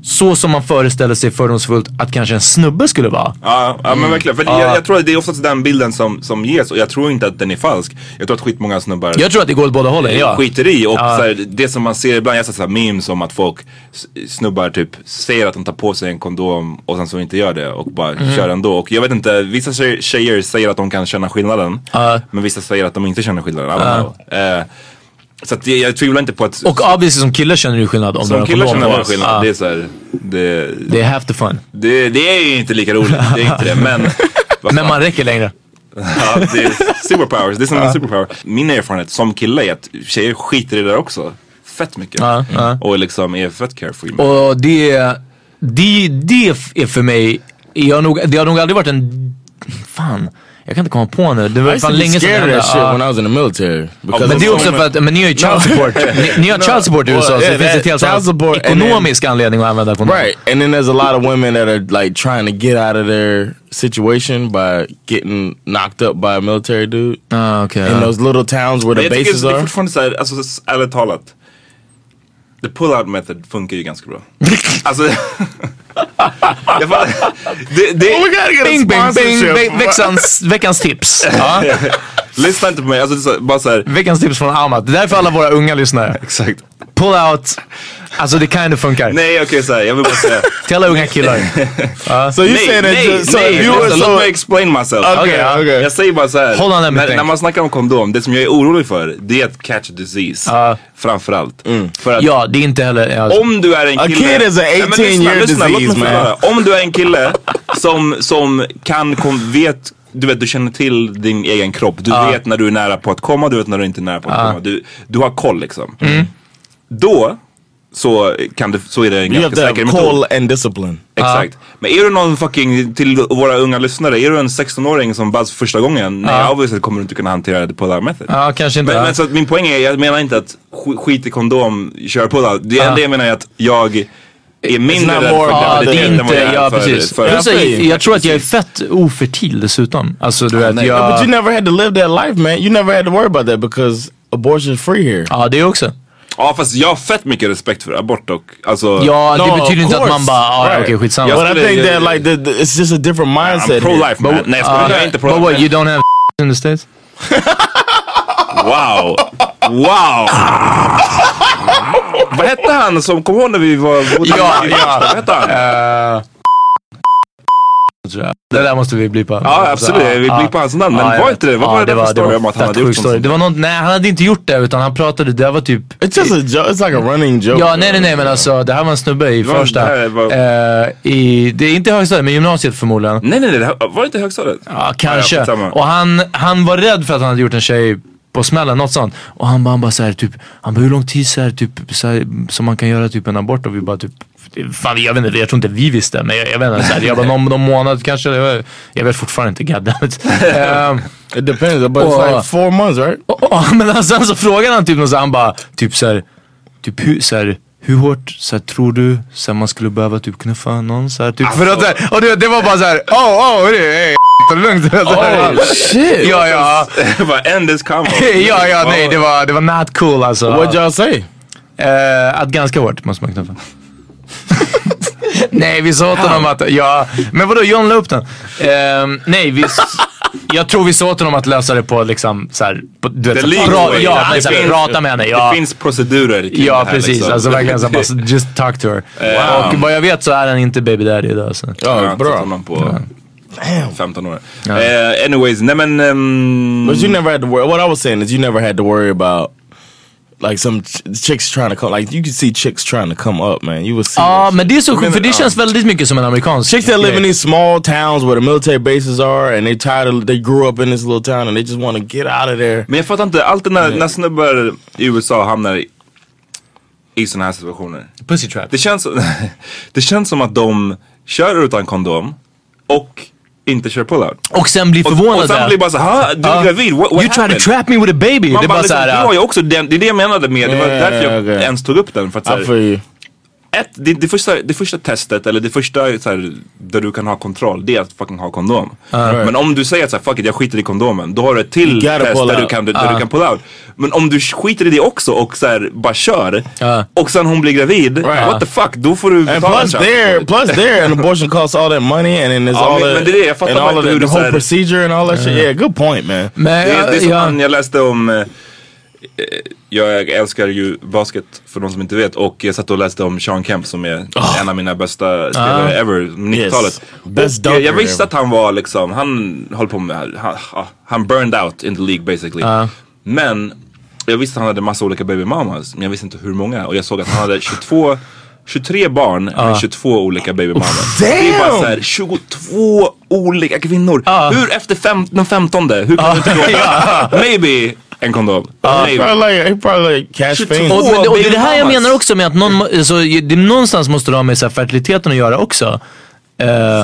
S3: så som man föreställer sig fördomsfullt att kanske en snubbe skulle vara.
S2: Ja, ja men
S3: Mm.
S2: verkligen. För
S3: Ja.
S2: jag, jag tror att det är oftast den bilden som, som ges och jag tror inte att den är falsk. Jag tror att skitmånga snubbar
S3: Jag tror att det går åt båda hållen, ja.
S2: skiter i och
S3: Ja.
S2: så här, det som man ser ibland, jag ser så här memes om att folk s- snubbar typ säger att de tar på sig en kondom och sen så inte gör det och bara
S3: Mm.
S2: kör ändå. Och jag vet inte, vissa tjejer- tjejer säger att de kan känna skillnaden men vissa säger att de inte känner skillnaden. I don't
S3: Ja.
S2: know. Eh, så att jag, jag tvivlar inte på att
S3: Och obviously som kille känner du skillnad om du
S2: som
S3: har en
S2: killar
S3: kondom
S2: känner
S3: på.
S2: man skillnad.
S3: Ja.
S2: Det är så här, det,
S3: Det är half the fun.
S2: det, det är ju inte lika roligt, det är inte det.
S3: (laughs)
S2: Men,
S3: Men man räcker längre.
S2: ja, det är superpowers, det är som
S3: Ja.
S2: en superpower. Min erfarenhet som kille är att tjejer skiter i det där också. Fett mycket.
S3: Ja, ja.
S2: Och liksom är fett carefree. med.
S3: Och det, det, det är för mig, jag har nog, det har nog aldrig varit en, fan, jag kan inte komma på nu. Det var fan länge sedan det
S5: scared of
S3: hände.
S5: that shit
S3: Ja.
S5: when I was in the military. because
S3: men
S5: of
S3: det
S5: (laughs)
S3: är också
S5: women.
S3: för att men ni har ju child support. ni, ni har
S5: No.
S3: child support i USA
S5: Well,
S3: så det
S5: yeah,
S3: finns
S5: that
S3: ett helt
S5: child
S3: annat
S5: support and then-
S3: ekonomisk anledning att använda kondom.
S5: Right. And then there's a lot of women that are like trying to get out of their situation by getting knocked up by a military dude.
S3: Ah, okay.
S5: In those little towns where
S2: Men
S5: the
S2: jag tycker
S5: bases
S2: det är
S5: are.
S2: fortfarande såhär, alltså s- ärligt talat. The pull-out method funkar ju ganska
S3: (laughs)
S2: bra. alltså, (laughs) jag fattar- det, det,
S3: Oh Bing, bing, bing, ve- veckans, veckans
S5: (laughs)
S3: tips. Ja.
S2: Lyssna inte på mig, alltså, det är så- bara såhär.
S3: Veckans tips från Amat. Det där är för alla våra unga lyssnare.
S2: Exakt.
S3: Pull out. Alltså det kind of funkar.
S2: Nej okej såhär, jag vill bara säga.
S3: Till alla unga
S5: (laughs)
S3: killar. Ja.
S5: So you
S2: nej,
S5: saying that
S2: nej,
S5: just- so
S2: nej,
S5: if you were
S2: vänta,
S5: so-
S2: låt mig explain myself.
S5: Okay,
S3: Okay.
S5: okay.
S2: Jag säger bara såhär,
S3: Hold on, let me
S2: när,
S3: think.
S2: när man snackar om kondom, det som jag är orolig för det är att catch a disease.
S3: Ja.
S2: Framförallt. För att
S3: Ja, det är inte heller... ja.
S2: om du är en
S5: Mm. A
S2: kille.
S5: kid is a
S2: Nej, men
S5: 18 year
S2: låt mig
S5: disease, man.
S2: förklara. Om du är en kille som, som kan, kom, vet, du vet du känner till din egen kropp. Du vet när du är nära på att komma, du vet när du inte är nära på att komma. Du, du har koll liksom.
S3: Mm.
S2: Då så, kan det, så är det en
S5: You have
S2: ganska
S5: to have
S2: säker metod.
S5: call and discipline.
S2: Exakt. Men är du någon fucking, till våra unga lyssnare, är du en 16-åring som buzz första gången? Nej, obviously kommer du inte kunna hantera det på det här method.
S3: Ja, kanske inte.
S2: Men, men så att min poäng är, jag menar inte att sk- skit i kondom, kör på det. Det
S3: Ja.
S2: enda jag menar är att jag är mindre
S5: not
S2: rädd
S5: more-
S2: för
S3: Ja, det
S2: graviditet
S3: är
S2: än vad
S3: inte,
S2: jag är
S3: ja
S2: för,
S3: precis.
S2: för
S3: Plus, jag, jag tror att jag är fett ofertil dessutom. Alltså du vet,
S5: Yeah, but you
S3: jag...
S5: never had to live that life, man. You never had to worry about that because abortion's free here.
S3: Ja, det också.
S2: Ja fast jag har fett mycket respekt för abort och alltså.
S3: Ja,
S5: No,
S3: det betyder
S5: of
S3: inte att man
S5: course.
S3: bara, ah,
S5: Right.
S3: okej skitsamma.
S2: Jag
S5: But I
S2: skulle-
S5: think
S2: jag-
S5: that like the, the, it's just a different mindset.
S2: I'm pro-life man. Nej jag skojar, jag är inte
S3: But what,
S2: pro-life.
S3: you don't have (laughs) in the States?
S2: Wow! Wow! Vad hette han som, kom ihåg när vi var
S3: Ja, Eh,
S2: i
S3: ja.
S2: Vad hette
S3: (laughs)
S2: han?
S3: tror jag. Det där måste vi blippa.
S2: Ja absolut, vi blir på hans namn. Men
S3: Ja, jag
S2: var
S3: vet.
S2: inte det, vad
S3: Ja,
S2: var det där för story
S3: var
S2: om att han
S3: fett
S2: hade gjort
S3: sjuk story.
S2: sånt?
S3: Det var någon, nej han hade inte gjort det utan han pratade, det var typ
S5: It's just a joke. It's like a running joke.
S3: Ja, nej, nej, nej, men alltså det här var en snubbe i
S2: var-
S3: första.
S2: det här var-
S3: eh, i, det är inte högstadiet, men gymnasiet förmodligen.
S2: Nej nej nej, det här- var det inte högstadiet?
S3: Ja, kanske.
S2: Ja, skitsamma. (laughs)
S3: och han, han var rädd för att han hade gjort en tjej på smällen, något sånt. Och han bara, han bara såhär, typ, han bara hur lång tid så här, typ, så här, som man kan göra typ en abort? Och vi bara typ, fan jag vet inte, jag tror inte vi visste. Men jag, jag vet inte, så här, jag bara någon, någon månad kanske. Jag, jag vet fortfarande
S2: (laughs)
S3: inte, goddammit. Um,
S5: It depends, but it's
S3: Oh.
S5: like four months, right?
S3: och, och, (laughs) men han, sen så frågade han typ något så här, han bara, typ såhär, typ hur, så här, hur hårt så här, tror du så här, man skulle behöva typ knuffa någon? Så här, typ, för att, så här, och det, det var bara såhär, oh, oh, hörru, hey, (laughs) ta det lugnt. Oh, shit. Ja, ja.
S2: Bara end this combo.
S3: (laughs) Ja, ja, nej det var, det var not cool alltså.
S5: What y'all say?
S3: Eh, att ganska hårt måste man knuffa. nej, vi sa åt honom att, ja, men vadå John la upp den. Ehm, nej, vi, s- jag tror vi sa åt honom att lösa det på liksom såhär, på- du vet,
S2: The
S3: så här,
S2: legal
S3: pra,
S2: way.
S3: ja,
S2: Det
S3: men, så här,
S2: finns-
S3: prata med henne. Ja.
S2: Det finns procedurer kring
S3: Ja
S2: det här,
S3: precis,
S2: liksom.
S3: alltså verkligen så här, bara, just talk to her. Och vad jag vet så är han inte baby daddy idag. Så.
S2: (laughs) Ja, bra.
S5: Oh, bro.
S2: honom på 15 år. Eh, anyways, nej men... ehm,
S5: But you never had to worry. What I was saying is you never had to worry about like some ch chicks trying to come. Like you could see chicks trying to come up, man. You would see.
S3: Ja
S5: that shit.
S3: men det är så
S5: I mean,
S3: sjukt för det
S5: uh,
S3: känns väldigt mycket som en amerikansk
S5: Chicks that live in
S3: grej.
S5: these small towns where the military bases are, and they tired of they grew up in this little town, and they just want to get out of there.
S2: Men jag fattar inte, alltid när, när snubbar i USA hamnar i, i sådana här situationer.
S3: Pussy trap.
S2: Det känns, (laughs) det känns som att de kör utan kondom och inte kör pullout.
S3: Och sen blir
S2: Och,
S3: förvånad
S2: och sen blir bara såhär, du är
S3: Ja.
S2: gravid, what, what
S3: You try
S2: happened?
S3: to trap me with a baby.
S2: Man
S3: det
S2: bara,
S3: är bara
S2: liksom,
S3: såhär.
S2: du har ju också den, det är det jag menade med, det var
S5: Yeah,
S2: därför jag
S5: okay.
S2: ens tog upp den. För att, så
S5: I
S2: här,
S5: feel you.
S2: ett, det, det, första, det första testet eller det första så här, där du kan ha kontroll det är att fucking ha kondom.
S5: right.
S2: Men om du säger att så här, fuck it jag skiter i kondomen då har du ett till
S5: You gotta
S2: test
S5: pull
S2: där, du
S5: out.
S2: kan, där
S5: Ah.
S2: du kan pull out. Men om du skiter i det också och så här, bara kör och sen hon blir gravid, what the fuck då får du
S5: And
S2: betala
S5: plus
S2: en chans.
S5: there, plus there, an abortion costs all that money, and then there's
S2: Ja,
S5: all
S2: men-
S5: the,
S2: men det är det, jag fattar
S5: and all
S2: bara
S5: of
S2: inte
S5: the,
S2: hur
S5: the
S2: det
S5: whole
S2: så här-
S5: procedure and all that shit. Yeah, good point, man.
S8: Men,
S2: det, är- det är som
S8: ja.
S2: han, jag läste om eh, eh, jag älskar ju basket för de som inte vet och jag satt och läste om Sean Kemp som är en av mina bästa spelare
S5: Ah.
S2: ever, 90-talet.
S5: Best
S2: Och eh, jag, jag
S5: dunker
S2: visste
S5: ever.
S2: att han var liksom, han höll på med, han, ah, han burned out in the League basically.
S8: Ah.
S2: Men jag visste att han hade massa olika baby mamas, men jag visste inte hur många och jag såg att han hade 22 23 barn
S8: Ah.
S2: med 22 olika babymammor. Det är bara
S5: damn!
S2: så här 22 olika kvinnor. Hur efter fem, den 15 hur kan du inte
S3: (laughs)
S2: gå? Maybe en kondom.
S5: He
S2: Maybe.
S5: Uh, probably like, he probably like cash fiends.
S3: Och, men, och det är det här jag
S2: baby mamas.
S3: menar också med att någon, må- så, det, någonstans måste det ha med så här, fertiliteten att göra också.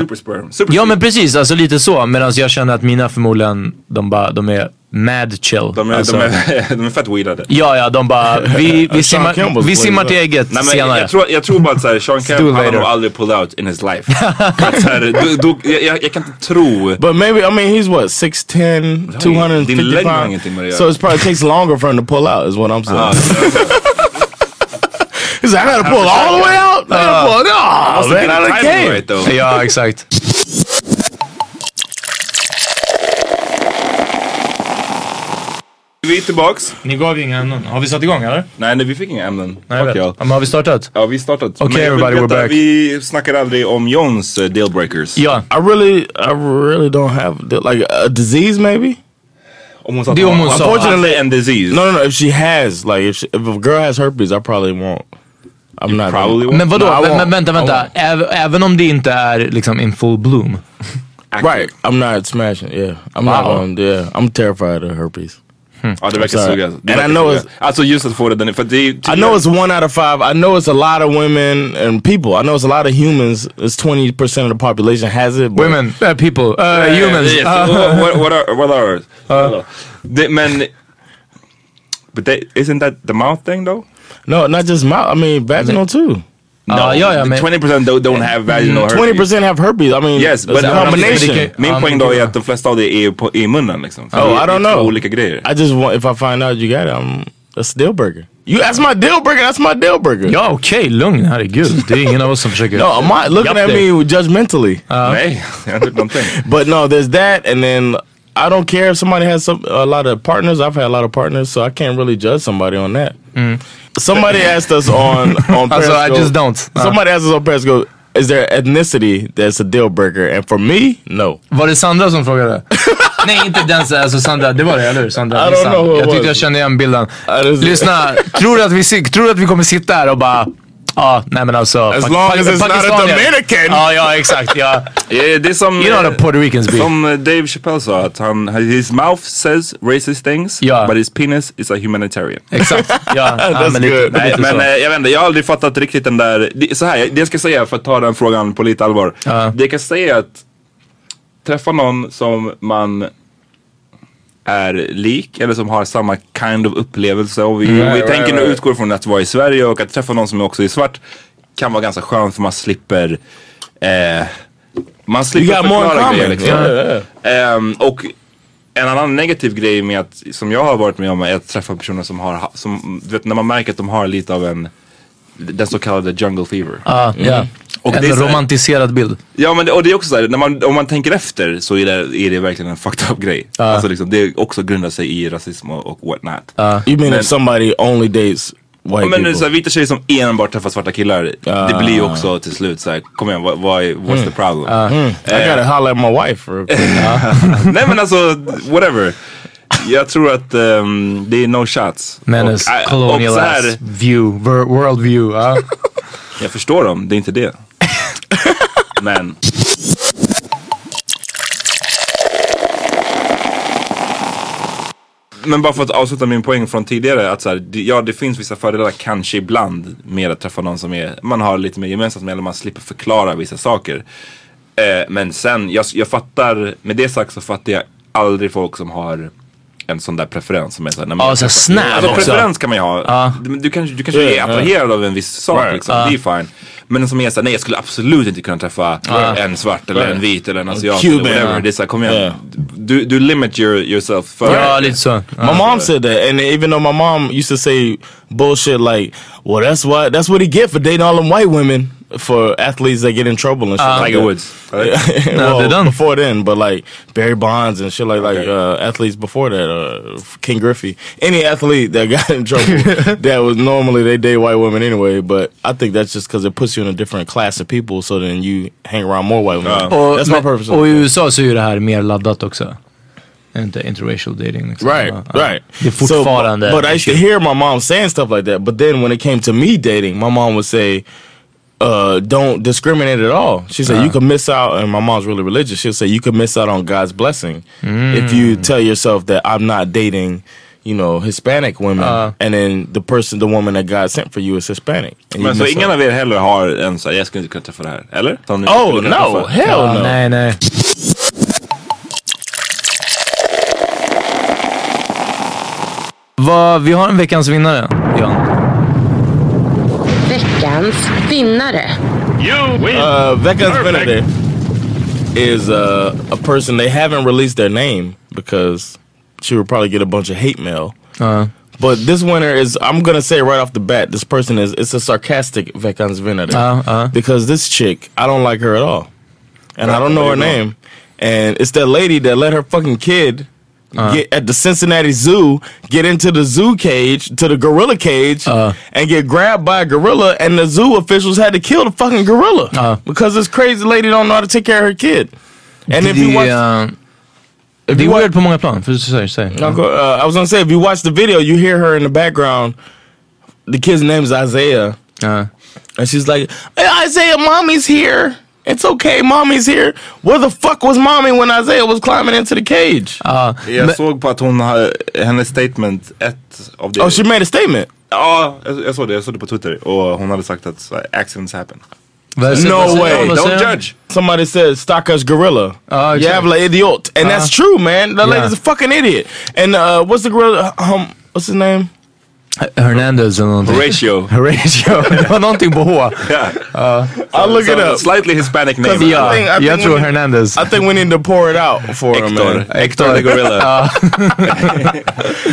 S2: Supersperm. Super
S3: Ja men precis, alltså lite så. Medan jag känner att mina förmodligen, de, bara, de är mad chill.
S2: de, är,
S3: alltså,
S2: de, är, (laughs) de är fett weedade.
S3: Ja, ja, de bara,
S2: (laughs)
S3: vi, vi simmar,
S5: Campbell's
S3: vi simmar till
S5: play.
S3: ägget
S2: Nej, men
S3: senare.
S2: jag, tror, jag tror bara att så här,
S3: (laughs)
S2: Sean Kemp,
S3: do it
S2: han har
S3: later.
S2: nog aldrig pulled out in his life.
S3: (laughs)
S2: Att så här, du, du, jag- jag, jag kan inte tro.
S5: But maybe I mean he's what 6'10",
S2: Din
S5: 250
S2: längd har ingenting med det
S5: pounds.
S2: att
S5: So
S2: göra.
S5: it probably takes longer for him to pull out. Is what I'm saying.
S2: Ah,
S5: He's like, I gotta pull all the way out. I
S2: Uh,
S5: gotta pull it out.
S2: måste
S5: man,
S2: get
S5: out of
S2: timing
S5: the game.
S2: right though.
S3: Ja, exakt.
S2: Vi är tillbaks.
S3: Ni gav ju inga ämnen. Har vi satt igång eller?
S2: Nej, nej vi fick inga ämnen.
S3: Nej, jag
S2: Fuck
S3: vet.
S2: y'all.
S3: Ja, men har vi startat?
S2: Ja, vi startat.
S3: Okej,
S2: Men jag vill
S3: everybody, we're
S2: veta,
S3: back.
S2: Vi snackar aldrig om Johns eh, dealbreakers.
S3: Ja.
S5: I really, I really don't have the- like a disease. Maybe
S2: Om hon sa
S3: Det är om hon sa.
S2: Unfortunately and disease.
S5: no, no, no. If she has like, if she, if a girl has herpes, I probably won't. I'm not.
S2: probably won't.
S3: Men vadå?
S5: No, I won't.
S3: men, vänta,
S5: I
S3: vänta.
S5: won't.
S3: Äv, även om det inte är liksom in full bloom.
S5: Right. I'm not smashing. Yeah. I'm not
S3: Wow.
S5: going. Yeah. I'm terrified of herpes.
S2: Ja, det verkar
S5: Sorry.
S2: suga. Det
S5: And I
S2: verkar
S5: know
S2: suga.
S5: it's-
S2: Alltså just att få det den för det är
S5: I know it's one out of five. I know it's a lot of women and people. I know it's a lot of humans. It's twenty percent of the population has it. but-
S3: Women, uh, people, uh,
S2: Yeah,
S3: humans.
S2: Eh, yes. Oh,
S3: Ah.
S2: What- what, what are what are Hello. det, men but that, isn't that the mouth thing though?
S5: No, not just mouth. I mean, vaginal too.
S3: Ja, ja, ja,
S2: the
S3: men-
S2: 20% don't, don't have vaginal herpes.
S5: Twenty percent have herpes. I mean,
S2: Yes,
S5: it's
S2: but
S5: a combination.
S2: min
S3: Ja,
S2: poäng
S3: men
S2: då
S3: det-
S2: är att de flesta av det är på, i munnen liksom. För
S5: Oh,
S2: det är-
S5: I
S2: det är
S5: don't
S2: två
S5: know.
S2: olika grejer.
S5: I just want if I find out you got it, I'm that's a deal breaker. You that's my deal breaker. That's my deal breaker.
S3: Ja, okej, lugn. Herregud. Det är ingen av oss som försöker...
S5: No, I'm not looking
S3: Yup,
S5: at
S3: det-
S5: me judgmentally.
S2: Nej, jag har inte gjort (laughs) någonting.
S5: But no, there's that, and then I don't care if somebody has some, a lot of partners. I've had a lot of partners, so I can't really judge somebody on that.
S3: (laughs)
S5: Somebody asked us on on
S3: Also, Mm. (laughs) I
S5: Periscope-
S3: just don't. Uh.
S5: Somebody asked us on Periscope, is there ethnicity that's a deal breaker? And for me, no.
S3: Var det Sandra som frågade? (laughs) Nej, inte den. så- Alltså Sandra. Det var det, eller hur? Sandra.
S5: I
S3: det är
S5: don't
S3: sant.
S5: know who it
S3: jag tyckte
S5: was.
S3: jag kände igen bilden.
S5: just-
S3: Lyssna, tror du, att vi, si- tror du att vi kommer sitta här och bara... Ja, nej men alltså... As
S5: long as it's not a Dominican.
S3: Ja, ja exakt. Ja.
S2: Eh, Det är som...
S3: You know
S2: eh,
S3: how the Puerto Ricans be.
S2: Som eh, Dave Chappelle sa att han, his mouth says racist things
S3: Ja.
S2: but his penis is a humanitarian.
S3: Exakt.
S5: (laughs)
S3: Ja, ja men lite,
S5: good.
S2: Nej,
S3: lite
S2: men
S3: så.
S2: eh, jag vet inte, jag har aldrig fattat riktigt den där, det, så här, jag- det jag ska säga för att ta den frågan på lite allvar. Det jag kan säga är att träffa någon som man är lik eller som har samma kind of upplevelse och vi, vi
S5: Mm. right,
S2: tänker nu
S5: right.
S2: utgår från att vara i Sverige och att träffa någon som också är svart kan vara ganska skönt för man slipper eh, man
S5: You
S2: slipper
S5: got more in
S2: förklara
S5: common.
S2: grejer liksom.
S5: Yeah, yeah, yeah.
S2: Ehm, och en annan negativ grej med att, som jag har varit med om är att träffa personer som har, ha- som, du vet när man märker att de har lite av en, den så kallade jungle fever.
S3: Ah,
S2: Mm.
S3: Ja, ja.
S2: Och det är
S3: En
S2: så här-
S3: romantiserad bild.
S2: Ja men det, och det är också såhär, när man, om man tänker efter så är det, är det verkligen en (laughs) fucked up grej.
S3: Ah.
S2: Alltså liksom, det också grundar sig i rasism och, och what not.
S3: Ah.
S5: You mean if somebody only dates white
S2: men det är
S5: people?
S2: såhär, vita tjejer som enbart träffar svarta killar, det blir ju
S3: Ah.
S2: också till slut såhär, kom igen, vad, vad är, what's the problem?
S3: Mm.
S2: Eh,
S5: I gotta holler at my wife. real quick.
S2: (laughs) Nej men alltså, whatever. Jag tror att ehm, det är no shots.
S3: Menace,
S2: Och, äh,
S3: colonial
S2: och så
S3: ass
S2: här,
S3: view, ver- world view. ja.
S2: Jag förstår dem, det är inte det. men. Men bara för att avsluta min poäng från tidigare att så här, det- ja det finns vissa fördelar kanske ibland med att träffa någon som är, man har lite mer gemensamt med eller man slipper förklara vissa saker. Eh, men sen, jag, jag fattar, med det sagt så fattar jag aldrig folk som har en sån där preferens som är såhär, nej,
S3: Ja,
S2: men jag
S3: så här
S2: träffar-
S3: snap
S2: alltså,
S3: också.
S2: preferens kan man ju ha. Du, du kanske, du kanske
S3: Yeah,
S2: är attraherad av en viss sak
S3: Right.
S5: Ah.
S2: liksom,
S3: Ja.
S2: det är fine. Men som är såhär, nej jag skulle absolut inte kunna träffa
S3: Ja.
S2: en svart eller en vit eller en asiat
S5: Ah. Cuban. Ah.
S2: eller whatever. Det är såhär, kom igen.
S5: Yeah.
S2: Du, du limit your, yourself. För
S3: lite så.
S5: My mom said that, and even though my mom used to say bullshit like, "Well, that's why that's what he get for dating all them white women for athletes that get in trouble and shit."
S3: Uh-huh.
S5: like
S2: Tiger
S5: that.
S2: Woods.
S5: (laughs) well,
S3: they done.
S5: before then, but like Barry Bonds and shit like like uh, athletes before that, uh, King Griffey, any athlete that (laughs) got
S3: (laughs)
S5: in trouble that was normally they date white women anyway. But I think that's just because it puts you in a different class of people, so then you hang around more white women.
S3: Och,
S5: that's my purpose.
S3: och i USA så är ju det här mer laddat också. Inte interracial dating liksom.
S5: Right,
S3: Ja, ja.
S5: right.
S3: Det är fortfarande...
S5: So, but I used to hear my mom saying stuff like that. But then when it came to me dating, my mom would say, uh, "Don't discriminate at all." She said, "You could miss out." And my mom's really religious. She'll say, "You could miss out on God's blessing if you tell yourself that I'm not dating." You know, Hispanic women, and then the person, the woman that God sent for you is Hispanic. And you
S2: Men så
S5: miss
S2: ingen
S5: out.
S2: av er heller har en såhär, jag skulle inte kunna träffa det här. Eller? Som ni
S5: Oh
S2: skulle kunna
S5: no!
S2: träffa.
S5: Hell
S3: Ja,
S5: Oh, no!
S3: Nej, nej. Vad- vi har en veckans vinnare, Jan.
S9: Veckans vinnare.
S5: Uh, Vegas Benedict is uh, a person they haven't released their name because she would probably get a bunch of hate mail.
S3: Ja.
S5: But this winner is, I'm gonna say right off the bat, this person is, it's a sarcastic Vegas Benedict.
S3: Uh, uh.
S5: Because this chick, I don't like her at all. And I don't know her name. And it's that lady that let her fucking kid get at the Cincinnati Zoo, get into the zoo cage, to the gorilla cage, and get grabbed by a gorilla. And the zoo officials had to kill the fucking gorilla because this crazy lady don't know how to take care of her kid. And if you
S3: det,
S5: watch,
S3: är, eh,
S5: if
S3: det
S5: you
S3: är
S5: watch,
S3: weird på många plan. För säg, säg.
S5: no, go- uh, I was gonna say if you watch the video, you hear her in the background. The kid's name is Isaiah.
S3: Ja.
S5: And she's like, "Hey, Isaiah, mommy's here. It's okay, mommy's here. Where the fuck was mommy when Isaiah was climbing into the cage?
S3: Uh. Ah,
S2: Jag såg på att hon, har- hennes statement, ett av det.
S5: oh, she made a statement.
S2: Ja, jag, jag såg det. Jag såg det på Twitter. Och hon hade sagt att så här, accidents happen.
S3: Vad säger- vad
S5: No
S3: säger-
S5: way.
S3: vad säger-
S2: Don't judge.
S5: Somebody said, stock us gorilla.
S3: Oh, okay. Uh-huh.
S5: You have like idiot. And that's true, man. That
S3: Yeah.
S5: lady's a fucking idiot. And uh, what's the gorilla? Um, what's his name?
S3: Hernandez eller någonting.
S2: Horatio.
S3: (laughs) Horatio. Det var någonting på H.
S2: Yeah.
S5: I'll (laughs) look it
S2: So,
S5: up.
S2: Slightly hispanic name.
S3: Ja,
S5: think- I
S3: jag
S5: think
S3: tror
S5: we-
S3: Hernandez.
S5: I think we need to pour it out for him, man.
S2: Hector. Hector the (laughs) gorilla.
S5: (laughs)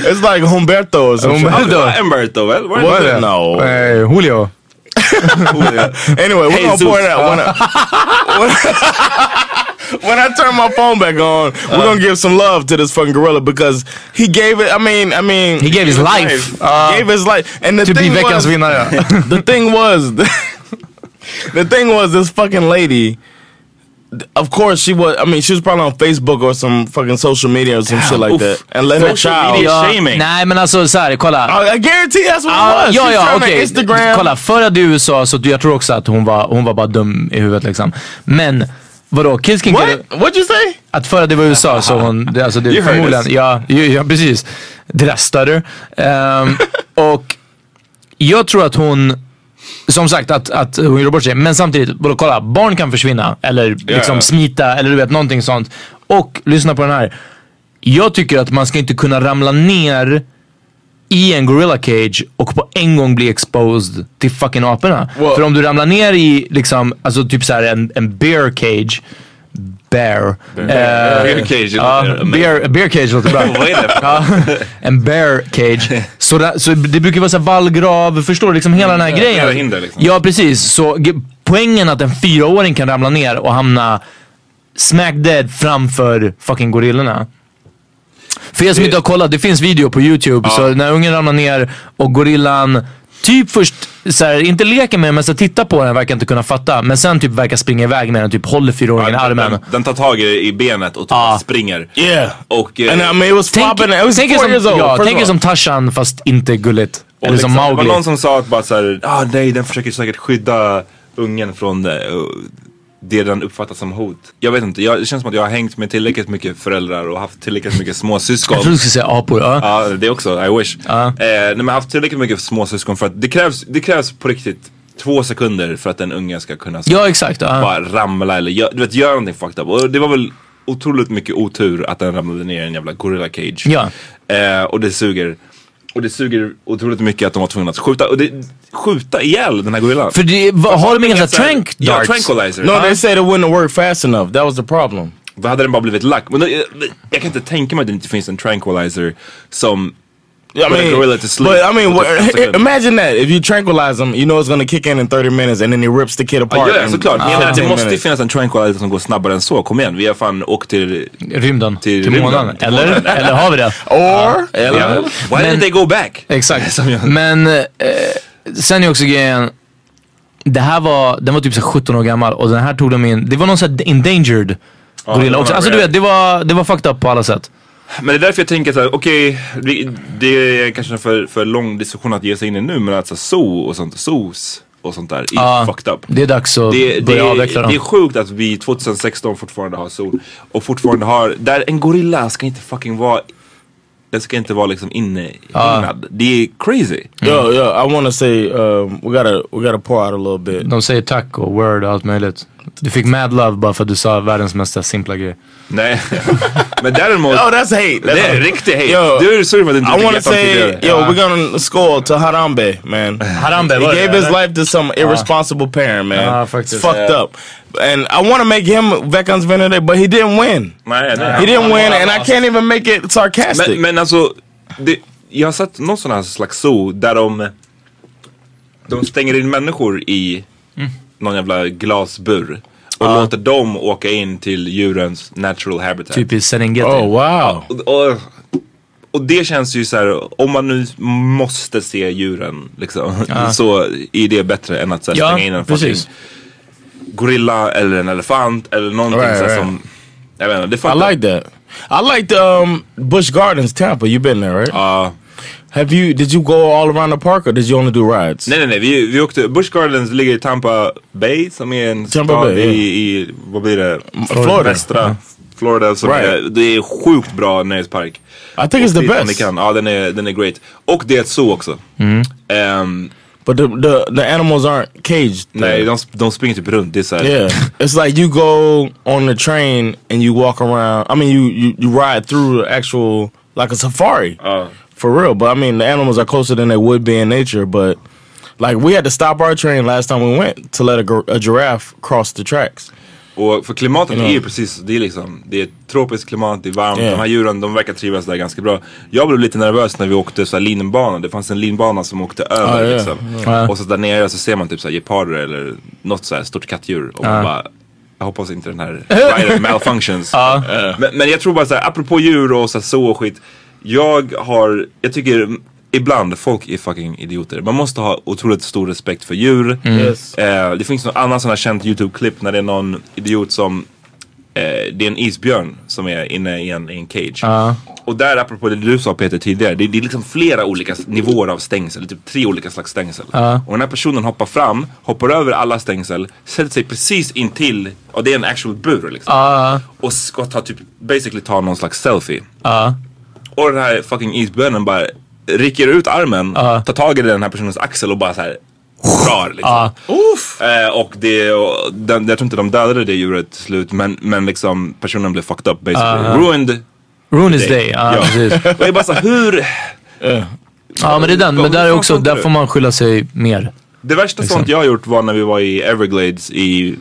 S5: It's like Humberto or something.
S3: Humberto.
S2: Humberto väl? Var det
S5: Was
S2: inte
S5: it?
S2: det? (laughs)
S5: No.
S3: Eh, Julio.
S5: Anyway, we're gonna
S2: Jesus.
S5: pour it out.
S3: (laughs)
S5: When I, when I turn my phone back on, we're gonna give some love to this fucking gorilla because he gave it. I mean, I mean,
S3: He gave his life. Uh,
S5: He gave his life. And the
S3: To be
S5: thing
S3: Typ veckans
S5: was,
S3: vinnare.
S5: (laughs) the thing was, (laughs) the thing was, this fucking lady. Of course, she was. I mean, she was probably on Facebook or some fucking social media or some shit like
S2: oof.
S5: that, and let her
S2: Social
S5: child. Uh,
S2: media.
S3: Ja,
S2: Shaming.
S3: Nej men alltså såhär, kolla.
S5: I, I guarantee that's what
S3: Ja,
S2: Uh,
S5: it was.
S3: ja,
S5: She's
S3: ja
S5: trying to
S3: okej.
S5: Instagram.
S3: Kolla, förra du sa så jag tror också att hon var, hon var bara dum i huvudet liksom. Men vadå, Kids Can Get
S5: What? What'd you say?
S3: Att förra det var USA
S2: (laughs)
S3: så hon, det, alltså det
S2: You heard
S3: förmodligen,
S2: us.
S3: ja, ju- ja precis. Det där större.
S2: (laughs)
S3: Ehm, och jag tror att hon, som sagt att, att hon gjorde bort sig. Men samtidigt, vadå kolla, barn kan försvinna eller liksom
S2: ja.
S3: smita eller du vet någonting sånt. Och lyssna på den här. Jag tycker att man ska inte kunna ramla ner i en gorilla cage och på en gång bli exposed till fucking aporna.
S5: Well-
S3: För om du ramlar ner i liksom, alltså typ såhär en, en bear cage. Bear. Eh,
S2: Bear cage.
S3: Ja, bear, bear cage låter bra.
S2: (laughs) Vad är det?
S3: Ja, en bear cage. Så, ra- så det brukar vara så här vallgrav, förstår du? Liksom hela den här grejen.
S2: flera hinder liksom.
S3: Ja, precis. Så g- poängen att en fyraåring kan ramla ner och hamna smack dead framför fucking gorillorna. För er som inte har kollat, det finns video på YouTube. Så när ungen ramlar ner och gorillan typ först, så här, inte leker med den men så tittar på den verkar inte kunna fatta. Men sen typ verkar springa iväg med den, typ håller fyraåringen i
S2: Den,
S3: armen.
S2: den, den tar tag i, i benet och typ
S3: Ja.
S2: springer.
S5: Yeah.
S2: Och, eh,
S5: And I mean, it was
S3: Tänk,
S5: flopping. It was
S3: tänk er
S5: four
S3: som,
S5: years old.
S3: ja,
S5: first
S3: tänk er
S5: of all.
S3: som Tarzan fast inte gulligt.
S2: och
S3: Eller som
S2: liksom, det var
S3: Mowgli.
S2: någon som sa att bara såhär, ah, nej den försöker säkert skydda ungen från det, eh, det den uppfattar som hot. Jag vet inte, jag, det känns som att jag har hängt med tillräckligt mycket föräldrar och haft tillräckligt mycket småsyskon.
S3: Jag trodde du skulle säga apor. Ja.
S2: Ja, det också. I wish.
S3: Ja.
S2: Eh, nej, men jag har haft tillräckligt mycket småsyskon för att det krävs, det krävs på riktigt två sekunder för att en unge ska kunna
S3: ja, exakt. Ja.
S2: bara ramla eller gör, du vet, göra någonting fucked up. Och det var väl otroligt mycket otur att den ramlade ner i en jävla gorilla cage.
S3: Ja.
S2: Eh, och det suger. Och det suger otroligt mycket att de var tvungna att skjuta, och det, skjuta ihjäl den här gorillan.
S3: För det, vad, har de inga såhär
S2: såhär-
S3: trank
S2: Ja,
S3: darts?
S2: tranquilizer.
S5: No,
S2: Ja.
S5: they said it wouldn't work fast enough. That was the problem.
S2: Då hade den bara blivit lack. Men eh, jag kan inte tänka mig att det inte finns en tranquilizer som
S5: I
S2: put a
S5: mean,
S2: gorilla to sleep.
S5: But I mean,
S2: på typ en
S5: what,
S2: sekund.
S5: imagine that. If you tranquilize him, you know it's gonna kick in in 30 minutes and then he rips the kid
S2: Ja,
S5: apart.
S2: ja,
S5: in
S2: såklart. Men jag menar,
S5: 15
S2: det måste ju
S5: minutes.
S2: finnas en tranquilizer som går snabbare än så. Kom igen, vi har fan åkt till...
S3: Rymden. Till,
S2: rymden.
S3: månaden.
S2: Till
S3: Eller?
S2: månaden.
S3: Eller har vi det?
S5: Or,
S2: Eller?
S3: Ja.
S2: Why didn't
S3: Men-
S2: they go back?
S3: Exakt.
S2: Som jag-
S3: Men eh, sen är också grejen. Det här var, den var typ så här 17 år gammal och den här tog de in. Det var någon sån här endangered
S2: det
S3: gorilla
S2: var
S3: också. Alltså du
S2: det.
S3: vet, det var, det var fucked up på alla sätt.
S2: Men det är därför jag tänker såhär, okej, vi- det är kanske en för, för lång diskussion att ge sig in i nu, men alltså zoo och sånt, zoos och sånt där är
S3: Ja,
S2: fucked up.
S3: Det är dags att
S2: Det, det,
S3: börja avveckla
S2: det är
S3: dem.
S2: sjukt att vi 2016 fortfarande har sol och fortfarande har, där en gorilla ska inte fucking vara, den ska inte vara liksom innehägnad. Det är crazy.
S5: Yo, yo, I want to say um, we gotta we gotta pour out a little bit.
S3: De säger tack och word och allt möjligt. Du fick mad love bara för att du sa världens mesta simpla grej.
S2: Nej, men däremot,
S5: Oh, that's hate. That's
S2: det är riktig hate.
S5: Yo,
S2: du är sur för att du inte
S5: I
S2: fick
S5: want to
S2: hjärtan
S5: say,
S2: tidigare.
S5: yo, we're gonna score to Harambe, man.
S3: Uh-huh. (laughs) Harambe,
S5: he
S3: what-
S5: gave his life to some irresponsible parent, man.
S3: Ah, fuck
S5: it's
S3: this.
S5: fucked
S3: Yeah.
S5: up. And I want to make him Vekans Venere, but he didn't win.
S2: Nej, nej.
S5: He didn't win, and I can't even make it sarcastic.
S2: Men, men alltså, det, jag har sett någon sån här slags zoo där de, de stänger in människor i
S5: Mm.
S2: någon jävla glasbur. Och låter dem åka in till djurens natural habitat.
S3: Typiskt Serengeti.
S5: oh wow.
S2: Och, och, och det känns ju så här, om man nu måste se djuren liksom, (laughs) så är det bättre än att så här,
S3: Ja,
S2: stänga in en fucking
S3: precis.
S2: gorilla eller en elefant eller någonting
S5: Right,
S2: så här,
S5: right.
S2: som, jag vet inte, det
S5: I
S2: fattar
S5: like that. I liked um, Bush Gardens, Tampa. You've been there, right?
S2: Ja.
S5: Have you? Did you go all around the park, or did you only do rides?
S2: Nej nej nej, vi, vi åkte, Bush Gardens ligger i Tampa Bay som är en
S5: Tampa
S2: stad
S5: Bay,
S2: i,
S5: ja.
S2: i, vad blir det?
S5: Florida.
S2: Västra Florida. Som
S5: Right.
S2: är, det är sjukt bra nöjespark.
S5: I think it's
S2: Dit
S5: the
S2: om ni
S5: best. Mm.
S2: Kan. Ja den är, den är great. Och det är ett zoo också. Ehm,
S5: But the, the the animals aren't caged.
S2: nej
S5: there.
S2: de, de springer typ runt, det är såhär. (laughs)
S5: Yeah, it's like you go on the train and you walk around. I mean, you you, you ride through the actual like a safari for real. But I mean, the animals are closer than they would be in nature. But like we had to stop our train last time we went to let a, gir- a giraffe cross the tracks.
S2: Och för klimatet
S5: Ja.
S2: är ju precis, det är liksom, det är ett tropiskt klimat, det är varmt,
S5: Ja.
S2: de här djuren de verkar trivas där ganska bra. Jag blev lite nervös när vi åkte så här linbana, det fanns en linbana som åkte över
S5: Ah, ja.
S2: liksom. Och så där nere så ser man typ så här geparder eller något så här stort kattdjur och man bara jag hoppas inte den här riden malfunctions. Eh, men, men jag tror bara såhär, apropå djur och så, här, så och skit. Jag har, jag tycker ibland folk är fucking idioter. Man måste ha otroligt stor respekt för djur.
S5: Yes.
S2: Eh, det finns någon annan sån här känt YouTube-klipp när det är någon idiot som eh, det är en isbjörn som är inne i en, i en cage. Och där, apropå det du sa Peter tidigare, det, det är liksom flera olika s- nivåer av stängsel. Typ tre olika slags stängsel. Och den här personen hoppar fram, hoppar över alla stängsel, sätter sig precis intill, och det är en actual bur liksom. Och ska ta typ, basically ta någon slags selfie. Och den här fucking isbjörnen bara rycker ut armen, tar tag i den här personens axel och bara så här drar liksom. Eh, och det, och den, jag tror inte de dödade det djuret till slut men, men liksom personen blev fucked up basically. Ruined
S3: Ruin is
S2: day.
S3: day. Ja,
S2: Ja.
S3: precis.
S2: och jag bara så här, hur?
S3: Ja men det är den. Men
S2: Hur
S3: där är
S2: fan
S3: också,
S2: funkar
S3: där
S2: det?
S3: får man skylla sig mer.
S2: Det värsta
S3: Liksom.
S2: sånt jag har gjort var när vi var i Everglades i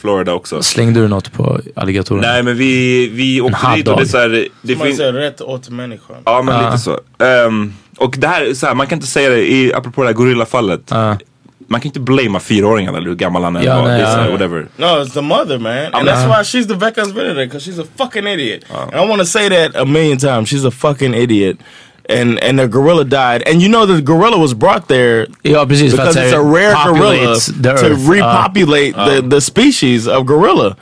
S2: Florida också.
S3: Slängde du något på alligatorer?
S2: Nej men vi, vi åkte
S3: hot
S2: dit och det är
S3: dog.
S2: så här, det finns... Ja men lite så. Ehm, och det här, är så här, man kan inte säga det, i, apropå det här gorillafallet. Man kan inte blamea fyraåringen eller hur gammal han än
S3: Ja,
S2: var.
S3: nej,
S2: det är så här,
S3: ja.
S2: whatever.
S5: No, it's the mother, man. And that's why she's the Becca's Benedict, because she's a fucking idiot. And I want to say that a million times. She's a fucking idiot. And and the gorilla died. And you know the gorilla was brought there
S3: Ja precis. för att
S5: because it's
S3: så
S5: a
S3: här,
S5: rare gorilla
S3: populates the
S5: to
S3: earth. Uh, Ja.
S5: repopulate the, the species of gorilla.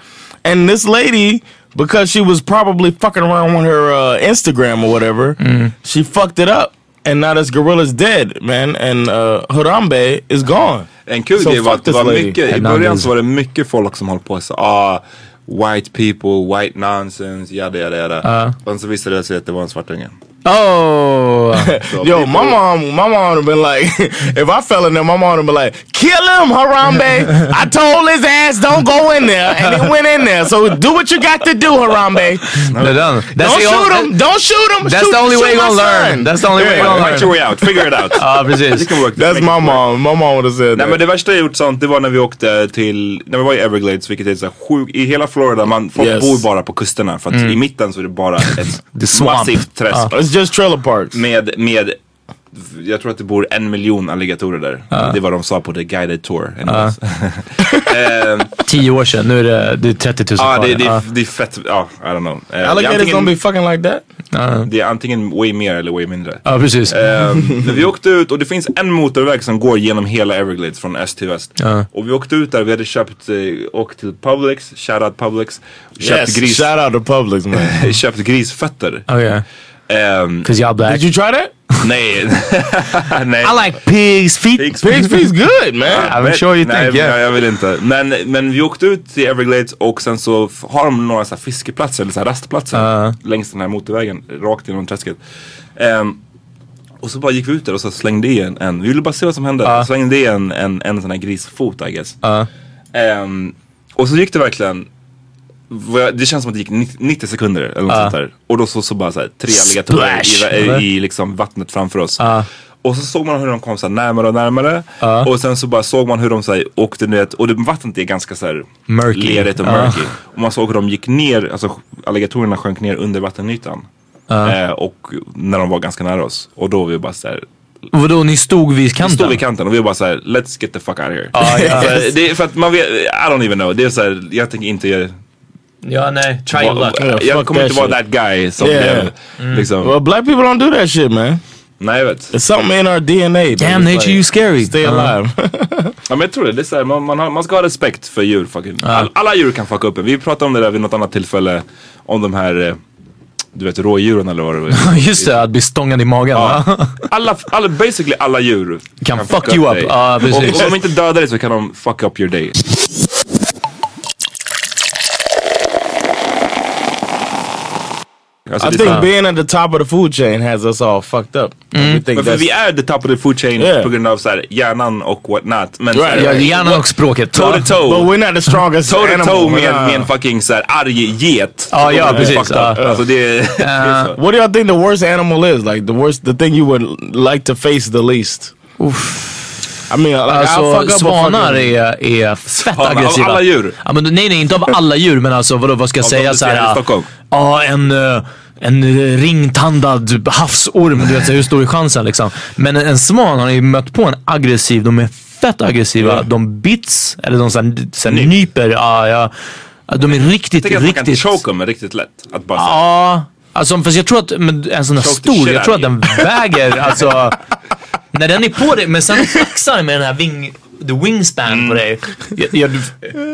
S5: And this lady, because she was probably fucking around on her uh, Instagram or whatever,
S3: Mm.
S5: she fucked it up. And now this gorilla's dead, man. And uh, Harambe is gone.
S2: En kul
S5: So
S2: grej var
S5: fuck
S2: att det
S5: this
S2: var
S5: lady.
S2: mycket, i
S3: Hernandez.
S2: början så var det mycket folk som höll på så ah, white people, white nonsense, yada yada yada. Men så visade det sig att det var en svartunge.
S3: (laughs) Oh!
S5: Yo, my mom, my mom would have been like, (laughs) if I fell in there, my mom would have been like, kill him,
S3: (laughs)
S5: Harambe. I told his ass don't go in there, and it went in there. So do what you got to do, Harambe.
S3: They're done. That's
S5: don't
S3: the
S5: shoot
S3: only-
S5: him. Don't shoot him.
S3: That's
S5: Shoot-
S3: the only
S5: shoot
S3: way you're
S5: my
S3: gonna
S5: son.
S3: learn. That's the only way you're gonna
S2: Fight your
S3: learn. Uh,
S2: way out, figure it out.
S3: Ja, precis.
S2: You can work this,
S5: (laughs) That's
S2: make
S5: my
S2: it work.
S5: mom. My mom would have said
S2: Nej men
S5: that.
S2: det värsta jag gjort sånt, det var när vi åkte till, när vi var i Everglades vilket är så här sjuk, i hela Florida, man, folk
S5: Yes.
S2: bor bara på kusterna för att i mitten så är det bara
S3: The
S2: ett
S3: swamp.
S2: massivt träsk.
S5: It's just trailer parks.
S2: Med, med, jag tror att det bor en miljon alligatorer där. Det var de sa på the guided tour. anyways.
S3: Tio år sedan, nu är det, Ah, det är 30 000
S2: Ja,
S3: kvar.
S2: det, det,
S3: Ja.
S2: det är fett, ja, I don't know. Eh, det är
S5: Alligators
S2: antingen-
S5: don't be fucking like that.
S2: Det är antingen way mer eller way mindre.
S3: Ja, precis.
S2: Ehm, men vi åkte ut och det finns en motorväg som går genom hela Everglades från öst till väst. Och vi åkte ut där, vi hade köpt, eh, åkt till Publix, shoutout Publix. Köpt,
S5: Yes,
S2: gris,
S5: shout out to
S3: (laughs)
S5: Publix
S2: (laughs)
S5: man.
S2: köpt grisfötter.
S3: Oh yeah,
S2: Ehm,
S3: because y'all black.
S5: Did you try that?
S2: nej, (laughs) nej.
S3: I like pigs feet.
S2: Pigs-
S5: Pigs fee's good man.
S3: I'm
S2: Men-
S3: sure you
S2: nej,
S3: think, yeah.
S2: nej, jag vill inte. Men, men vi åkte ut till Everglades och sen så f- har de några så här fiskeplatser eller så här rastplatser längs den här motorvägen, rakt genom träsket. Ehm, och så bara gick vi ut där och så slängde i en, en vi ville bara se vad som hände. Slängde i en, en, en sån här grisfot I guess. Ehm, och så gick det verkligen, vad- det känns som att det gick 90, 90 sekunder eller något sånt där. Och då så, så bara så här, tre alligatorer
S3: Splash,
S2: i,
S3: eller?
S2: i, i liksom vattnet framför oss. Och så såg man hur de kom så här närmare och närmare. Och sen så bara såg man hur de så här, åkte ner. Och det, vattnet är ganska så här
S3: Murky.
S2: lerigt och
S3: Ja.
S2: murky. Och man såg hur de gick ner, alltså alligatorerna sjönk ner under vattenytan. Eh, och när de var ganska nära oss. Och då var vi bara så här,
S3: Vadå, ni stod vid
S2: vi
S3: kanten?
S2: stod vid kanten och vi bara så här, let's get the fuck out of here.
S3: Ja, ja.
S2: Alltså, det är för att man vet, I don't even know. Det är så här, jag tänker inte göra
S3: Ja, nej. Try your luck.
S5: Yeah,
S2: jag
S5: fuck
S2: kommer
S5: that
S2: inte vara
S5: shit.
S2: that guy som
S5: Yeah.
S2: blev
S3: Mm.
S2: liksom.
S5: Well, black people don't do that shit, man.
S2: Nej jag vet.
S5: It's something in our DNA. that
S3: Damn
S5: is
S3: nature, you
S5: like,
S3: scary.
S5: Stay
S3: Uh,
S5: alive.
S2: Ja, men jag tror det. det är så här, man, man, har, man ska ha respekt för djur. Fucking. All, alla djur kan fucka upp en. Vi pratade om det där vid något annat tillfälle. Om de här, eh, du vet rådjuren eller
S3: (laughs)
S2: vad det var.
S3: Just det, att bli stångad i magen. va?
S2: Ja. Alla, alla, basically alla djur
S3: Kan fuck you up.
S2: dig.
S3: Ja, precis.
S2: och, och om de inte dödar dig så kan de fuck up your day. Alltså,
S5: I
S2: det är
S5: think
S2: så-
S5: being at the top of the food chain has us all fucked up.
S3: Mm-hmm.
S5: We think
S2: Men för
S5: that's,
S2: vi är the top of the food chain
S5: Yeah.
S2: på grund av så här, hjärnan och what not. Men så här, eh,
S5: Right,
S3: Ja, (laughs)
S5: right.
S3: hjärnan och språket.
S2: toe to
S5: (laughs)
S2: toe.
S5: but we're not the strongest
S2: Toe to
S5: animal.
S2: toe med,
S5: Nah.
S2: med en fucking såhär arg get.
S3: Ja, ja,
S2: Då blir det
S3: precis,
S2: fucked up.
S3: ja.
S2: Alltså det är... det
S3: Uh-huh.
S2: är så.
S5: What do y'all think the worst animal is? Like the worst, the thing you would like to face the least? I mean, like, I'll
S3: Alltså
S5: fuck up a
S3: svanar
S5: fucking-
S3: är, är fett
S2: Svanar av
S3: aggressiva.
S2: alla djur?
S3: Ja, men, nej, nej, inte av alla djur, men alltså vadå, vad ska jag
S2: Av de
S3: säga?
S2: du
S3: Så
S2: ser här i
S3: här,
S2: Stockholm?
S3: ja, en, eh, en eh, ringtandad havsorm. Du vet, så här, hur stor är chansen liksom? Men en, en svan har ju mött på en aggressiv. De är fett aggressiva.
S2: Mm.
S3: De bits, eller de så här, så här, nyper. Ja, ja. De är riktigt,
S2: Jag tänker att man kan
S3: riktigt...
S2: choke dem riktigt lätt. Att bara såhär,
S3: Ja, alltså fast jag tror att men en sån här
S2: Choke the
S3: stor,
S2: shit
S3: jag tror att
S2: out of (laughs)
S3: den väger alltså. När den är på dig, men sen flaxar med den här ving, the wingspan på dig.
S2: Mm.
S3: Ja, ja, du,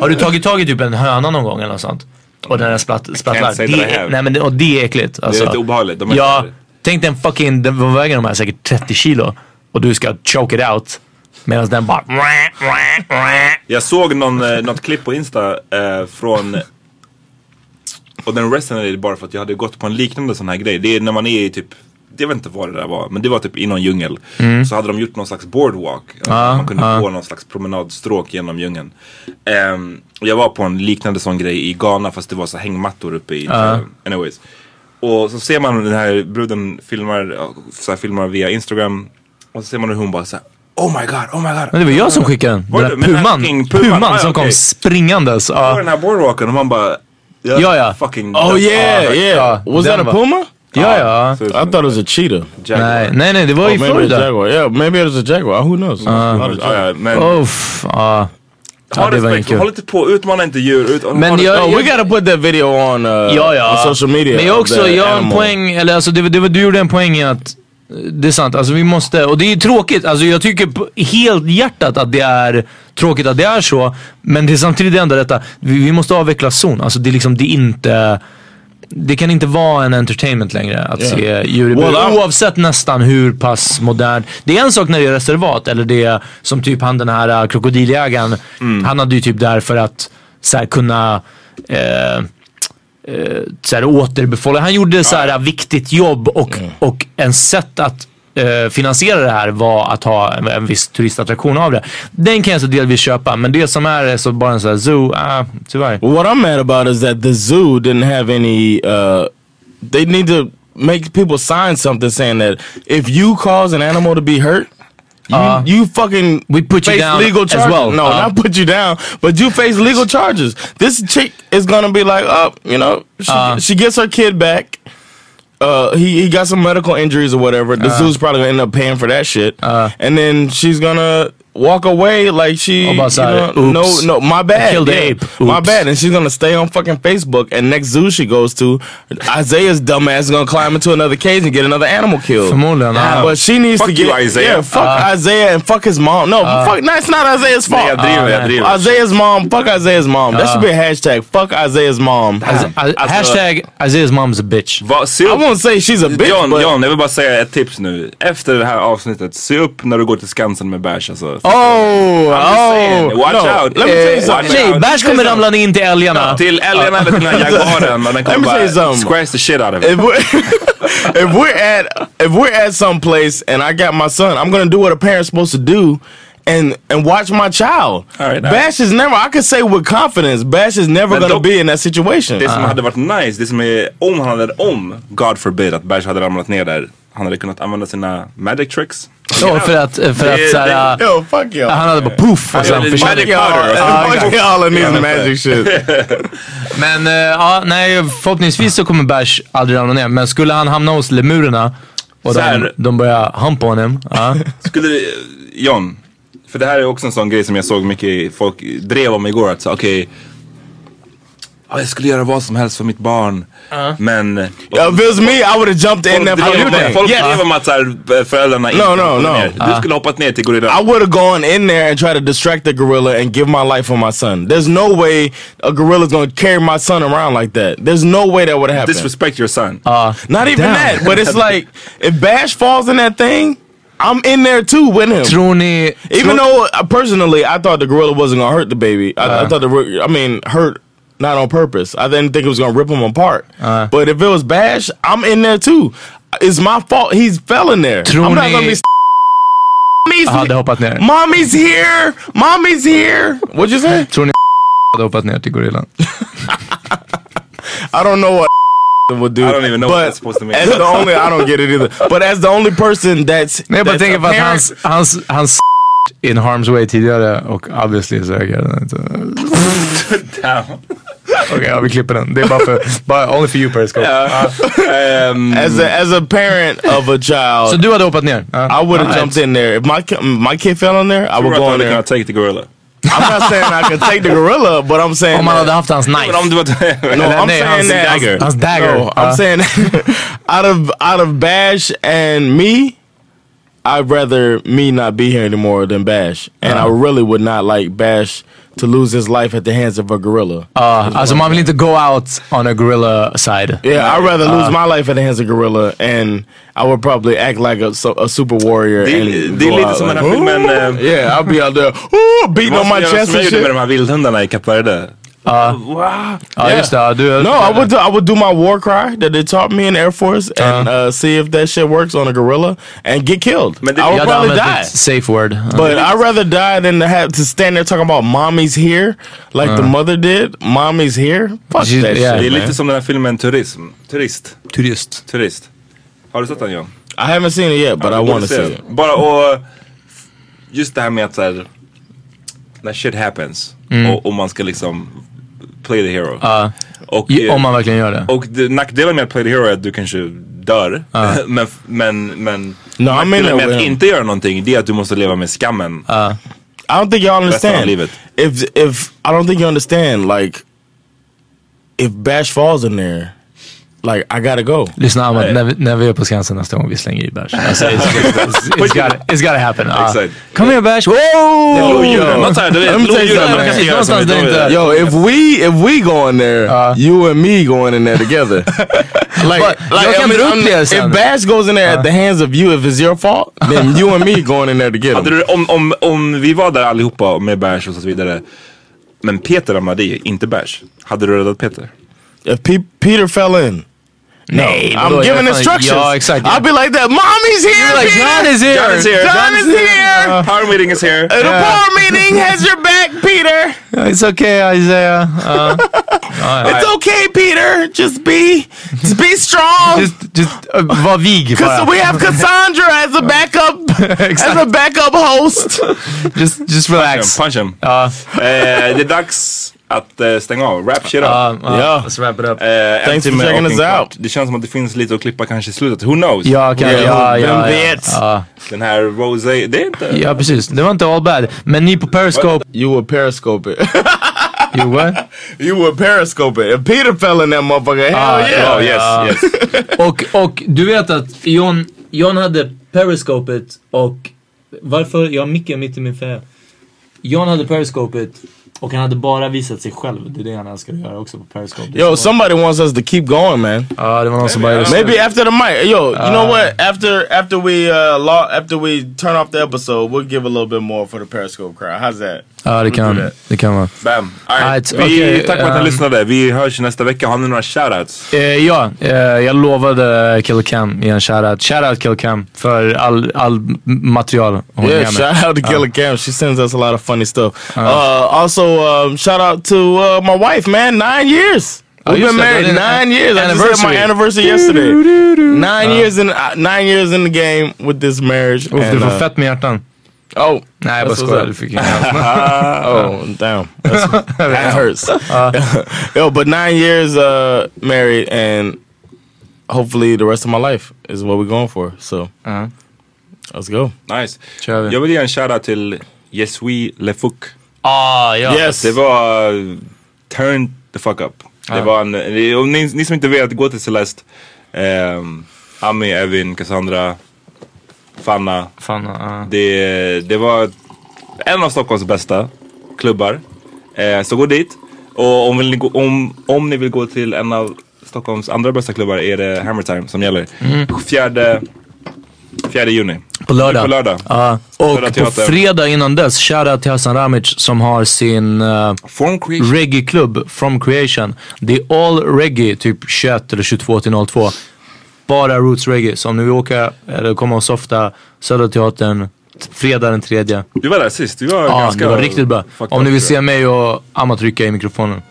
S3: har du tagit tag i typ en höna någon gång eller något sånt? Och den här spratt, sprattlar.
S2: say that I
S3: Det, är-
S2: have.
S3: nej, men, det- och det är äckligt. Alltså.
S2: lite obehagligt, de är
S3: ja,
S2: lite-
S3: tänk den fucking, den, vad väger de här? Säkert 30 kilo. Och du ska choke it out. Medan den bara...
S2: Jag såg någon, eh, något klipp på Insta eh, från och den resonerade bara för att jag hade gått på en liknande sån här grej. Det är när man är i typ, jag vet inte vad det där var, men det var typ i någon djungel. Så hade de gjort någon slags boardwalk. Alltså man kunde gå någon slags promenadstråk genom djungeln. Ehm, och jag var på en liknande sån grej i Ghana fast det var så hängmattor uppe i träden. Anyways. Och så ser man den här bruden filmar, ja, så här filmar via Instagram. Och så ser man hur hon bara så här, Oh my god, oh my god.
S3: Men det var jag som skickade den.
S2: Var
S3: Den
S2: det? Men
S3: där
S2: den här
S3: puman.
S2: fucking puman.
S3: Puman
S2: Ah,
S3: som kom
S2: okej.
S3: springandes.
S2: på
S3: Ja.
S2: den här boardwalken och man bara
S3: Ja, ja.
S2: Fucking
S5: Oh yeah,
S2: Uh,
S3: Ah,
S5: yeah.
S3: yeah.
S5: Was
S3: Them
S5: that a
S3: var-
S5: puma?
S3: Ja, ja.
S2: Så-
S5: I thought it was a cheetah.
S2: Jaguar.
S3: Nej, nej, nej, det var
S5: Or
S3: i
S5: maybe it was a
S3: Florida.
S5: jaguar. Yeah, maybe it was a jaguar. Who knows?
S2: Ja, ja, men
S3: Oh, f- ja.
S2: ha
S3: Ja, det var
S2: respekt,
S3: inget
S2: håll
S3: kul.
S2: inte på, utmana inte djur. Ut,
S3: Men
S2: ha
S3: jag-
S2: respekt.
S5: Oh, we gotta put that video on, uh,
S3: Ja, ja.
S5: on social media.
S3: Men jag
S5: of
S3: också,
S5: the
S3: jag har en
S5: animal.
S3: poäng, eller alltså det, var- det, var- du gjorde en poäng i att eh, det är sant, alltså vi måste, och det är ju tråkigt, alltså jag tycker på helt hjärtat att det är tråkigt att det är så. Men det är samtidigt ändå detta, vi, vi måste avveckla zon. Alltså det är liksom, det är inte, det kan inte vara en entertainment längre att
S5: Yeah.
S3: se djur i bur.
S5: Well, I'm-
S3: Oavsett nästan hur pass modern. Det är en sak när det är reservat eller det är som typ han den här äh, krokodiljägaren. Han hade ju typ där för att så här, kunna eh, eh, så här, återbefolkning. Han gjorde så här viktigt jobb och, och en sätt att eh, finansiera det här var att ha en, en viss turistattraktion av det. Den kan jag så delvis köpa, men det som är så bara en sån här zoo, ah, tyvärr.
S5: What I'm mad about is that the zoo didn't have any. Uh, they need to make people sign something saying that if you cause an animal to be hurt, you, you fucking we
S3: Uh-huh. put you down
S5: legal
S3: as
S5: charges.
S3: well.
S5: No,
S3: Uh,
S5: not put you down, but you face legal charges. This chick is gonna be like, oh, you know, she,
S3: Uh-huh.
S5: she gets her kid back. Uh, he he got some medical injuries or whatever. The
S3: Uh-huh.
S5: zoo's probably gonna end up paying for that shit, and then she's gonna walk away like she,
S3: Oh, about
S5: you know,
S3: that.
S5: no,
S3: Oops.
S5: no, my bad,
S3: killed the ape.
S5: my
S3: Oops.
S5: bad, and she's gonna stay on fucking Facebook. And next zoo she goes to, Isaiah's dumbass is gonna climb into another cage and get another animal killed.
S3: Förmodligen, ja.
S5: But she needs
S2: Fuck
S5: to get
S2: you, Isaiah.
S5: Yeah, fuck Isaiah and fuck his mom. No, fuck. No, it's not Isaiah's fault.
S2: jag driver, jag driver.
S5: Isaiah's mom. Fuck Isaiah's mom. That should be a hashtag. Fuck Isaiah's mom.
S3: As-
S5: Alltså,
S3: äh, uh, hashtag Aziz mom's a bitch.
S2: Va, se
S5: I
S2: upp.
S5: won't say she's a bitch,
S2: Jan,
S5: but
S2: Jan, jag vill bara säga ett tips nu. Efter det här avsnittet, se upp när du går till Skansen med bärs alltså.
S5: oh,
S2: I'm just
S5: oh,
S2: saying, watch
S5: no.
S2: out.
S5: Let me tell you
S2: Eh,
S5: something.
S2: watch
S3: Nej,
S2: out.
S3: bärs kommer ramla in till älgarna.
S2: Till älgarna eller till den här jaguaren. Men den
S5: Let
S2: kommer
S5: me tell
S2: bara
S5: you something.
S2: squares the shit out of it.
S5: if we're (laughs) if we're at if we're at some place and I got my son, I'm gonna do what a parent's supposed to do. And, and watch my child.
S2: All right, all right.
S5: Bash is never. I can say with confidence, Bash is never
S2: Men
S5: gonna
S2: dock-
S5: be in that situation.
S2: Det som hade varit nice, det som är om han hade, om God forbid att Bash hade ramlat ner där, han hade kunnat använda sina magic tricks.
S3: Ja, för att, för att
S2: Det-
S3: såhär,
S2: det-
S5: (laughs) Yo, fuck y'all.
S3: han hade bara poof och sen
S2: det-
S3: försvann.
S2: Magic
S5: Y'all-
S2: powder.
S5: Fuck
S2: Ja,
S5: y'all and
S2: Ja,
S5: these
S2: men- (laughs)
S5: magic shit.
S3: Men eh, ja, nej, förhoppningsvis så kommer Bash aldrig ramla ner. Men skulle han hamna hos lemurerna och
S2: Så
S3: de,
S2: här.
S3: de börjar hampa honom. Ja.
S2: Skulle det, John, för det här är också en sån grej som jag såg mycket folk drev om igår. Att så, okej, ja, jag skulle göra vad som helst för mitt barn. Men...
S5: Yo, if it was me, I would have jumped in there
S2: Folk
S5: for
S2: drev om-
S5: everything.
S2: folk
S5: Yes.
S2: drev om att så här, eh, föräldrarna inte
S5: No, no,
S2: hoppade
S5: no.
S2: ner. Du skulle hoppat ner till gorillan.
S5: I would have gone in there and tried to distract the gorilla and give my life for my son. There's no way a gorilla's gonna carry my son around like that. There's no way that would have happened.
S2: Disrespect your son.
S5: Not even
S3: Damn.
S5: that, but it's like if Bash falls in that thing, I'm in there too with him.
S3: Tror ni... tror-
S5: Even though uh, personally, I thought the gorilla wasn't gonna hurt the baby. I, I thought the, ri- I mean, hurt not on purpose. I didn't think it was gonna rip him apart. but if it was Bash, I'm in there too. It's my fault. He's fell in there. I'm not gonna
S3: Trony-
S5: be. s- (laughs) Mommy's,
S3: hade hoppat ner.
S5: mommy's here. Mommy's here. What'd you say?
S3: Tror ni (laughs) hade hoppat ner till gorillan?
S5: I don't know what (laughs) would do.
S2: I don't even know
S5: but
S2: what that's supposed to mean.
S5: As the only, I don't get
S2: (laughs)
S5: it either. But as the only person that's
S3: Nej, jag bara
S5: that's
S3: tänker på
S5: a
S3: att
S5: parent-
S3: hans, hans, hans (laughs) in harm's way tidigare och obviously så reagerade han inte. (laughs) Okej,
S2: Damn.
S3: ja, vi klipper den. Det är bara för... bara only for you Periscope.
S2: Ehm,
S5: as a as a parent of a child.
S3: Så du hade hoppat ner? Ja.
S5: I would have
S3: Ja,
S5: jumped in there. If my ki- my kid fell in there, I
S2: tror
S5: would
S2: du att du
S5: go in
S2: hade
S5: there.
S2: kunnat take the gorilla?
S5: I'm not saying I could
S2: (laughs)
S5: take the gorilla, but I'm saying
S3: Om man hade
S5: that-
S3: haft hans knife.
S2: Men om du var...
S5: no,
S3: Eller
S5: I'm
S3: nej,
S5: saying
S3: hans
S5: that
S3: dagger. Hans dagger. uh.
S5: No, I'm
S3: Ja.
S5: saying (laughs) out of out of Bash and me, I'd rather me not be here anymore than Bash, and
S3: Uh-huh.
S5: I really would not like Bash to lose his life at the hands of a gorilla.
S3: Ja, alltså man vill inte go out on a gorilla side.
S5: Yeah, I'd rather lose my life at the hands of gorilla, and I would probably act like a, so- a super warrior.
S2: Det är-
S5: and
S2: det är
S5: go
S2: lite
S5: out
S2: som
S5: like,
S2: den här filmen,
S5: "Ooh."
S2: eh,
S5: yeah, I'll be out there, ooh, beating
S2: Vad
S5: on
S2: ska
S5: my
S2: jag göra
S5: chest
S2: som jag gjorde
S5: and
S2: med
S5: shit.
S2: de här vildhundarna i Kap Verde?
S3: Ja, just det. Ja, Du,
S5: No, I would do, I would do my war cry that they taught me in Air Force and uh, see if that shit works on a gorilla and get killed.
S2: Men det-
S5: I would
S2: Jag
S3: hade
S5: probably
S3: använt
S5: die.
S3: ett safe word. Ja.
S5: But I'd rather die than to have to stand there talking about mommy's here like the mother did. Mommy's here. Fuck
S3: She-
S5: that
S3: yeah.
S2: Det är
S5: shit.
S2: lite som den här filmen Turism. Turist.
S3: Turist.
S2: Turist. Har du sett den John?
S5: I haven't seen it yet, but I
S2: Du borde
S5: want to see
S2: se den.
S5: it.
S2: Bara och... Just det här med att såhär... När shit happens.
S3: Mm.
S2: Och, och man ska liksom... Play the hero. och, eh,
S3: Om man verkligen gör det.
S2: och det, nackdelen med att play the hero är att du kanske dör. (laughs) men, men, men...
S5: No, I'm in
S2: nackdelen
S5: there
S2: med
S5: with
S2: att
S5: him.
S2: inte göra någonting, det är att du måste leva med skammen. (laughs)
S5: I don't think y'all
S2: Rest of my
S5: understand.
S2: leave it.
S5: If if I don't think you understand, like if Bash falls in there, like I gotta go.
S3: Lyssna Ahmed, när vi, när vi är på Skansen nästa gång vi slänger i bärs. Alltså, it's,
S5: (laughs)
S3: it's, it's, gotta, it's gotta happen. Ja.
S2: Exakt.
S3: Kom igen bärs! Wow!
S2: Lodjuren, man säger du
S5: Let me
S2: vet,
S5: tell you
S2: lodjuren man
S5: something.
S2: kanske gör som
S3: Någonstans
S2: vi
S3: där
S2: drar
S3: inte-
S2: det.
S5: Yo, if we if we go in there, you and me going in there together. (laughs) like,
S3: y'all can do this,
S5: if
S3: and-
S5: Bash goes in there at the hands of you, if it's your fault, then you and me going in there
S2: Hade
S5: together.
S2: du, om, om, om vi var där allihopa med bärs och så vidare. Men Peter ramlade i, inte bärs. Hade du räddat Peter?
S5: If Pe- Peter fell in. No,
S3: Nej, vadå?
S5: I'm
S3: Jag
S5: giving
S3: fan-
S5: instructions.
S3: Ja, exakt, ja.
S5: I'll be like that. Mommy's here.
S3: like,
S5: Peter!
S3: "John is Uh, here.
S2: John is here.
S5: John,
S2: John
S5: is here.
S2: Power meeting is here.
S5: The power meeting has your back, Peter.
S3: (laughs) It's okay Isaiah.
S5: (laughs)
S3: Uh,
S5: It's okay, Peter. Just be, just be strong.
S3: just, just, uh, var vig bara.
S5: Cause we have Cassandra as a backup,
S3: (laughs)
S5: as a backup host.
S3: Just, just relax.
S2: Punch him.
S3: Ja,
S2: Eh, det är dags att eh, stänga av. Wrap shit up.
S3: ja, ja.
S5: Ja.
S3: Let's wrap it up.
S2: Eh, en
S5: Thanks for
S2: timme och
S5: checking
S2: en
S5: us
S2: kvart.
S5: out.
S2: Det känns som att det finns lite att klippa kanske i slutet. Who knows?
S3: Ja, kan,
S5: Yeah,
S3: ja,
S5: vem
S3: ja, ja,
S5: vet?
S3: ja.
S2: Den här Rosé, det är inte...
S3: Ja, precis. Det var inte all bad. Men ni på Periscope...
S5: You would periscope it.
S3: Jo, what?
S5: (laughs) you would periscope it. If Peter fell in that motherfucker, hell
S3: Ah,
S5: yeah.
S2: Oh, yes, yes.
S3: Och, och du vet att John, John hade periscopet och... Varför? Jag har micken mitt i min färg. John hade periscopet och han hade bara visat sig själv. Det är det han älskar att göra också på periscope. Det är
S5: Yo,
S3: så-
S5: somebody wants us to keep going, man.
S3: Ja, det var någon som bara...
S5: Maybe after the mic. Yo, you know
S2: Uh-huh.
S5: what? After after we uh lo- after we turn off the episode, we'll give a little bit more for the Periscope crowd. How's that?
S3: Ja, det kan, det kan vara.
S2: Bam. All right.
S3: Alright,
S2: vi,
S3: okej,
S2: tack för att ni
S3: ehm,
S2: lyssnade. Vi hörs nästa vecka. Har ni några shoutouts?
S3: Eh, ja, eh, jag lovade Kill Cam i en shoutout. Shoutout Kill Cam för all, all material hon
S5: Yeah,
S3: ger mig.
S5: shout out to Gilla
S3: Uh,
S5: Cam. She sends us a lot of funny stuff. Uh, also, um, shout out to uh, my wife, man. Nine years.
S3: Oh,
S5: We've
S3: you
S5: been
S3: said
S5: married
S3: that in-
S5: nine years. I just had my anniversary
S3: anniversary.
S5: yesterday. Nine years in uh, nine years in the game with this marriage.
S3: Uff,
S5: and,
S3: du får
S5: uh,
S3: fett med hjärtan.
S5: oh,
S3: Nej, jag bara
S5: that's what's
S3: skojar.
S5: up.
S3: Du fick inga
S5: Oh,
S3: (laughs)
S5: damn. That's, that hurts.
S3: Uh.
S5: (laughs) Yo, but nine years uh, married, and hopefully the rest of my life is what we're going for. So
S3: Uh-huh.
S5: let's go.
S2: Nice.
S3: Kör vi.
S2: Jag vill ge en shoutout till Yesui Lefouk.
S3: Ah, ja.
S5: Yes.
S2: Det var uh, Turn the fuck up. Det var en, det- och ni, ni som inte vet, gå till Celeste. Um, Ami, Evin, Cassandra, Fanna.
S3: Fan, ah.
S2: Det, det var en av Stockholms bästa klubbar. Eh, så gå dit. Och om, vill ni gå, om, om ni vill gå till en av Stockholms andra bästa klubbar är det Hammer Time som gäller.
S3: Mm.
S2: Fjärde, fjärde juni.
S3: På lördag.
S2: På lördag.
S3: Ja.
S2: Lördag
S3: och på
S2: teater.
S3: fredag innan dess, shoutout till Hassan Ramic som har sin eh,
S2: Form Creation.
S3: reggae-klubb From Creation. Det är all reggae, typ 21 eller 22 till 02. Bara roots reggae. Så om ni vill åka eller komma och softa, Södra Teatern, t- fredag den tredje.
S2: Du var där sist. Du var
S3: Ja,
S2: ganska...
S3: det var riktigt bra.
S2: fucked
S3: Om ni
S2: up,
S3: vill
S2: tror
S3: se mig och Amma trycka i mikrofonen.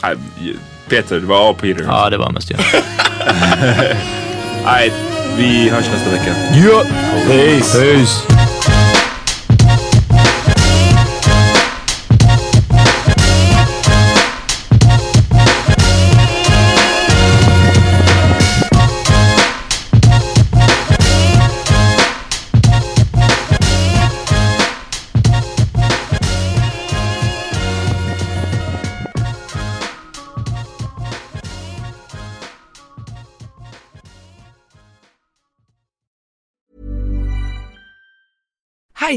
S2: jag. Nej, Peter, det var A. Peter.
S3: Ja, det var mest jag.
S2: Nej, vi hörs nästa vecka.
S3: Ja! Peace!
S10: Hi,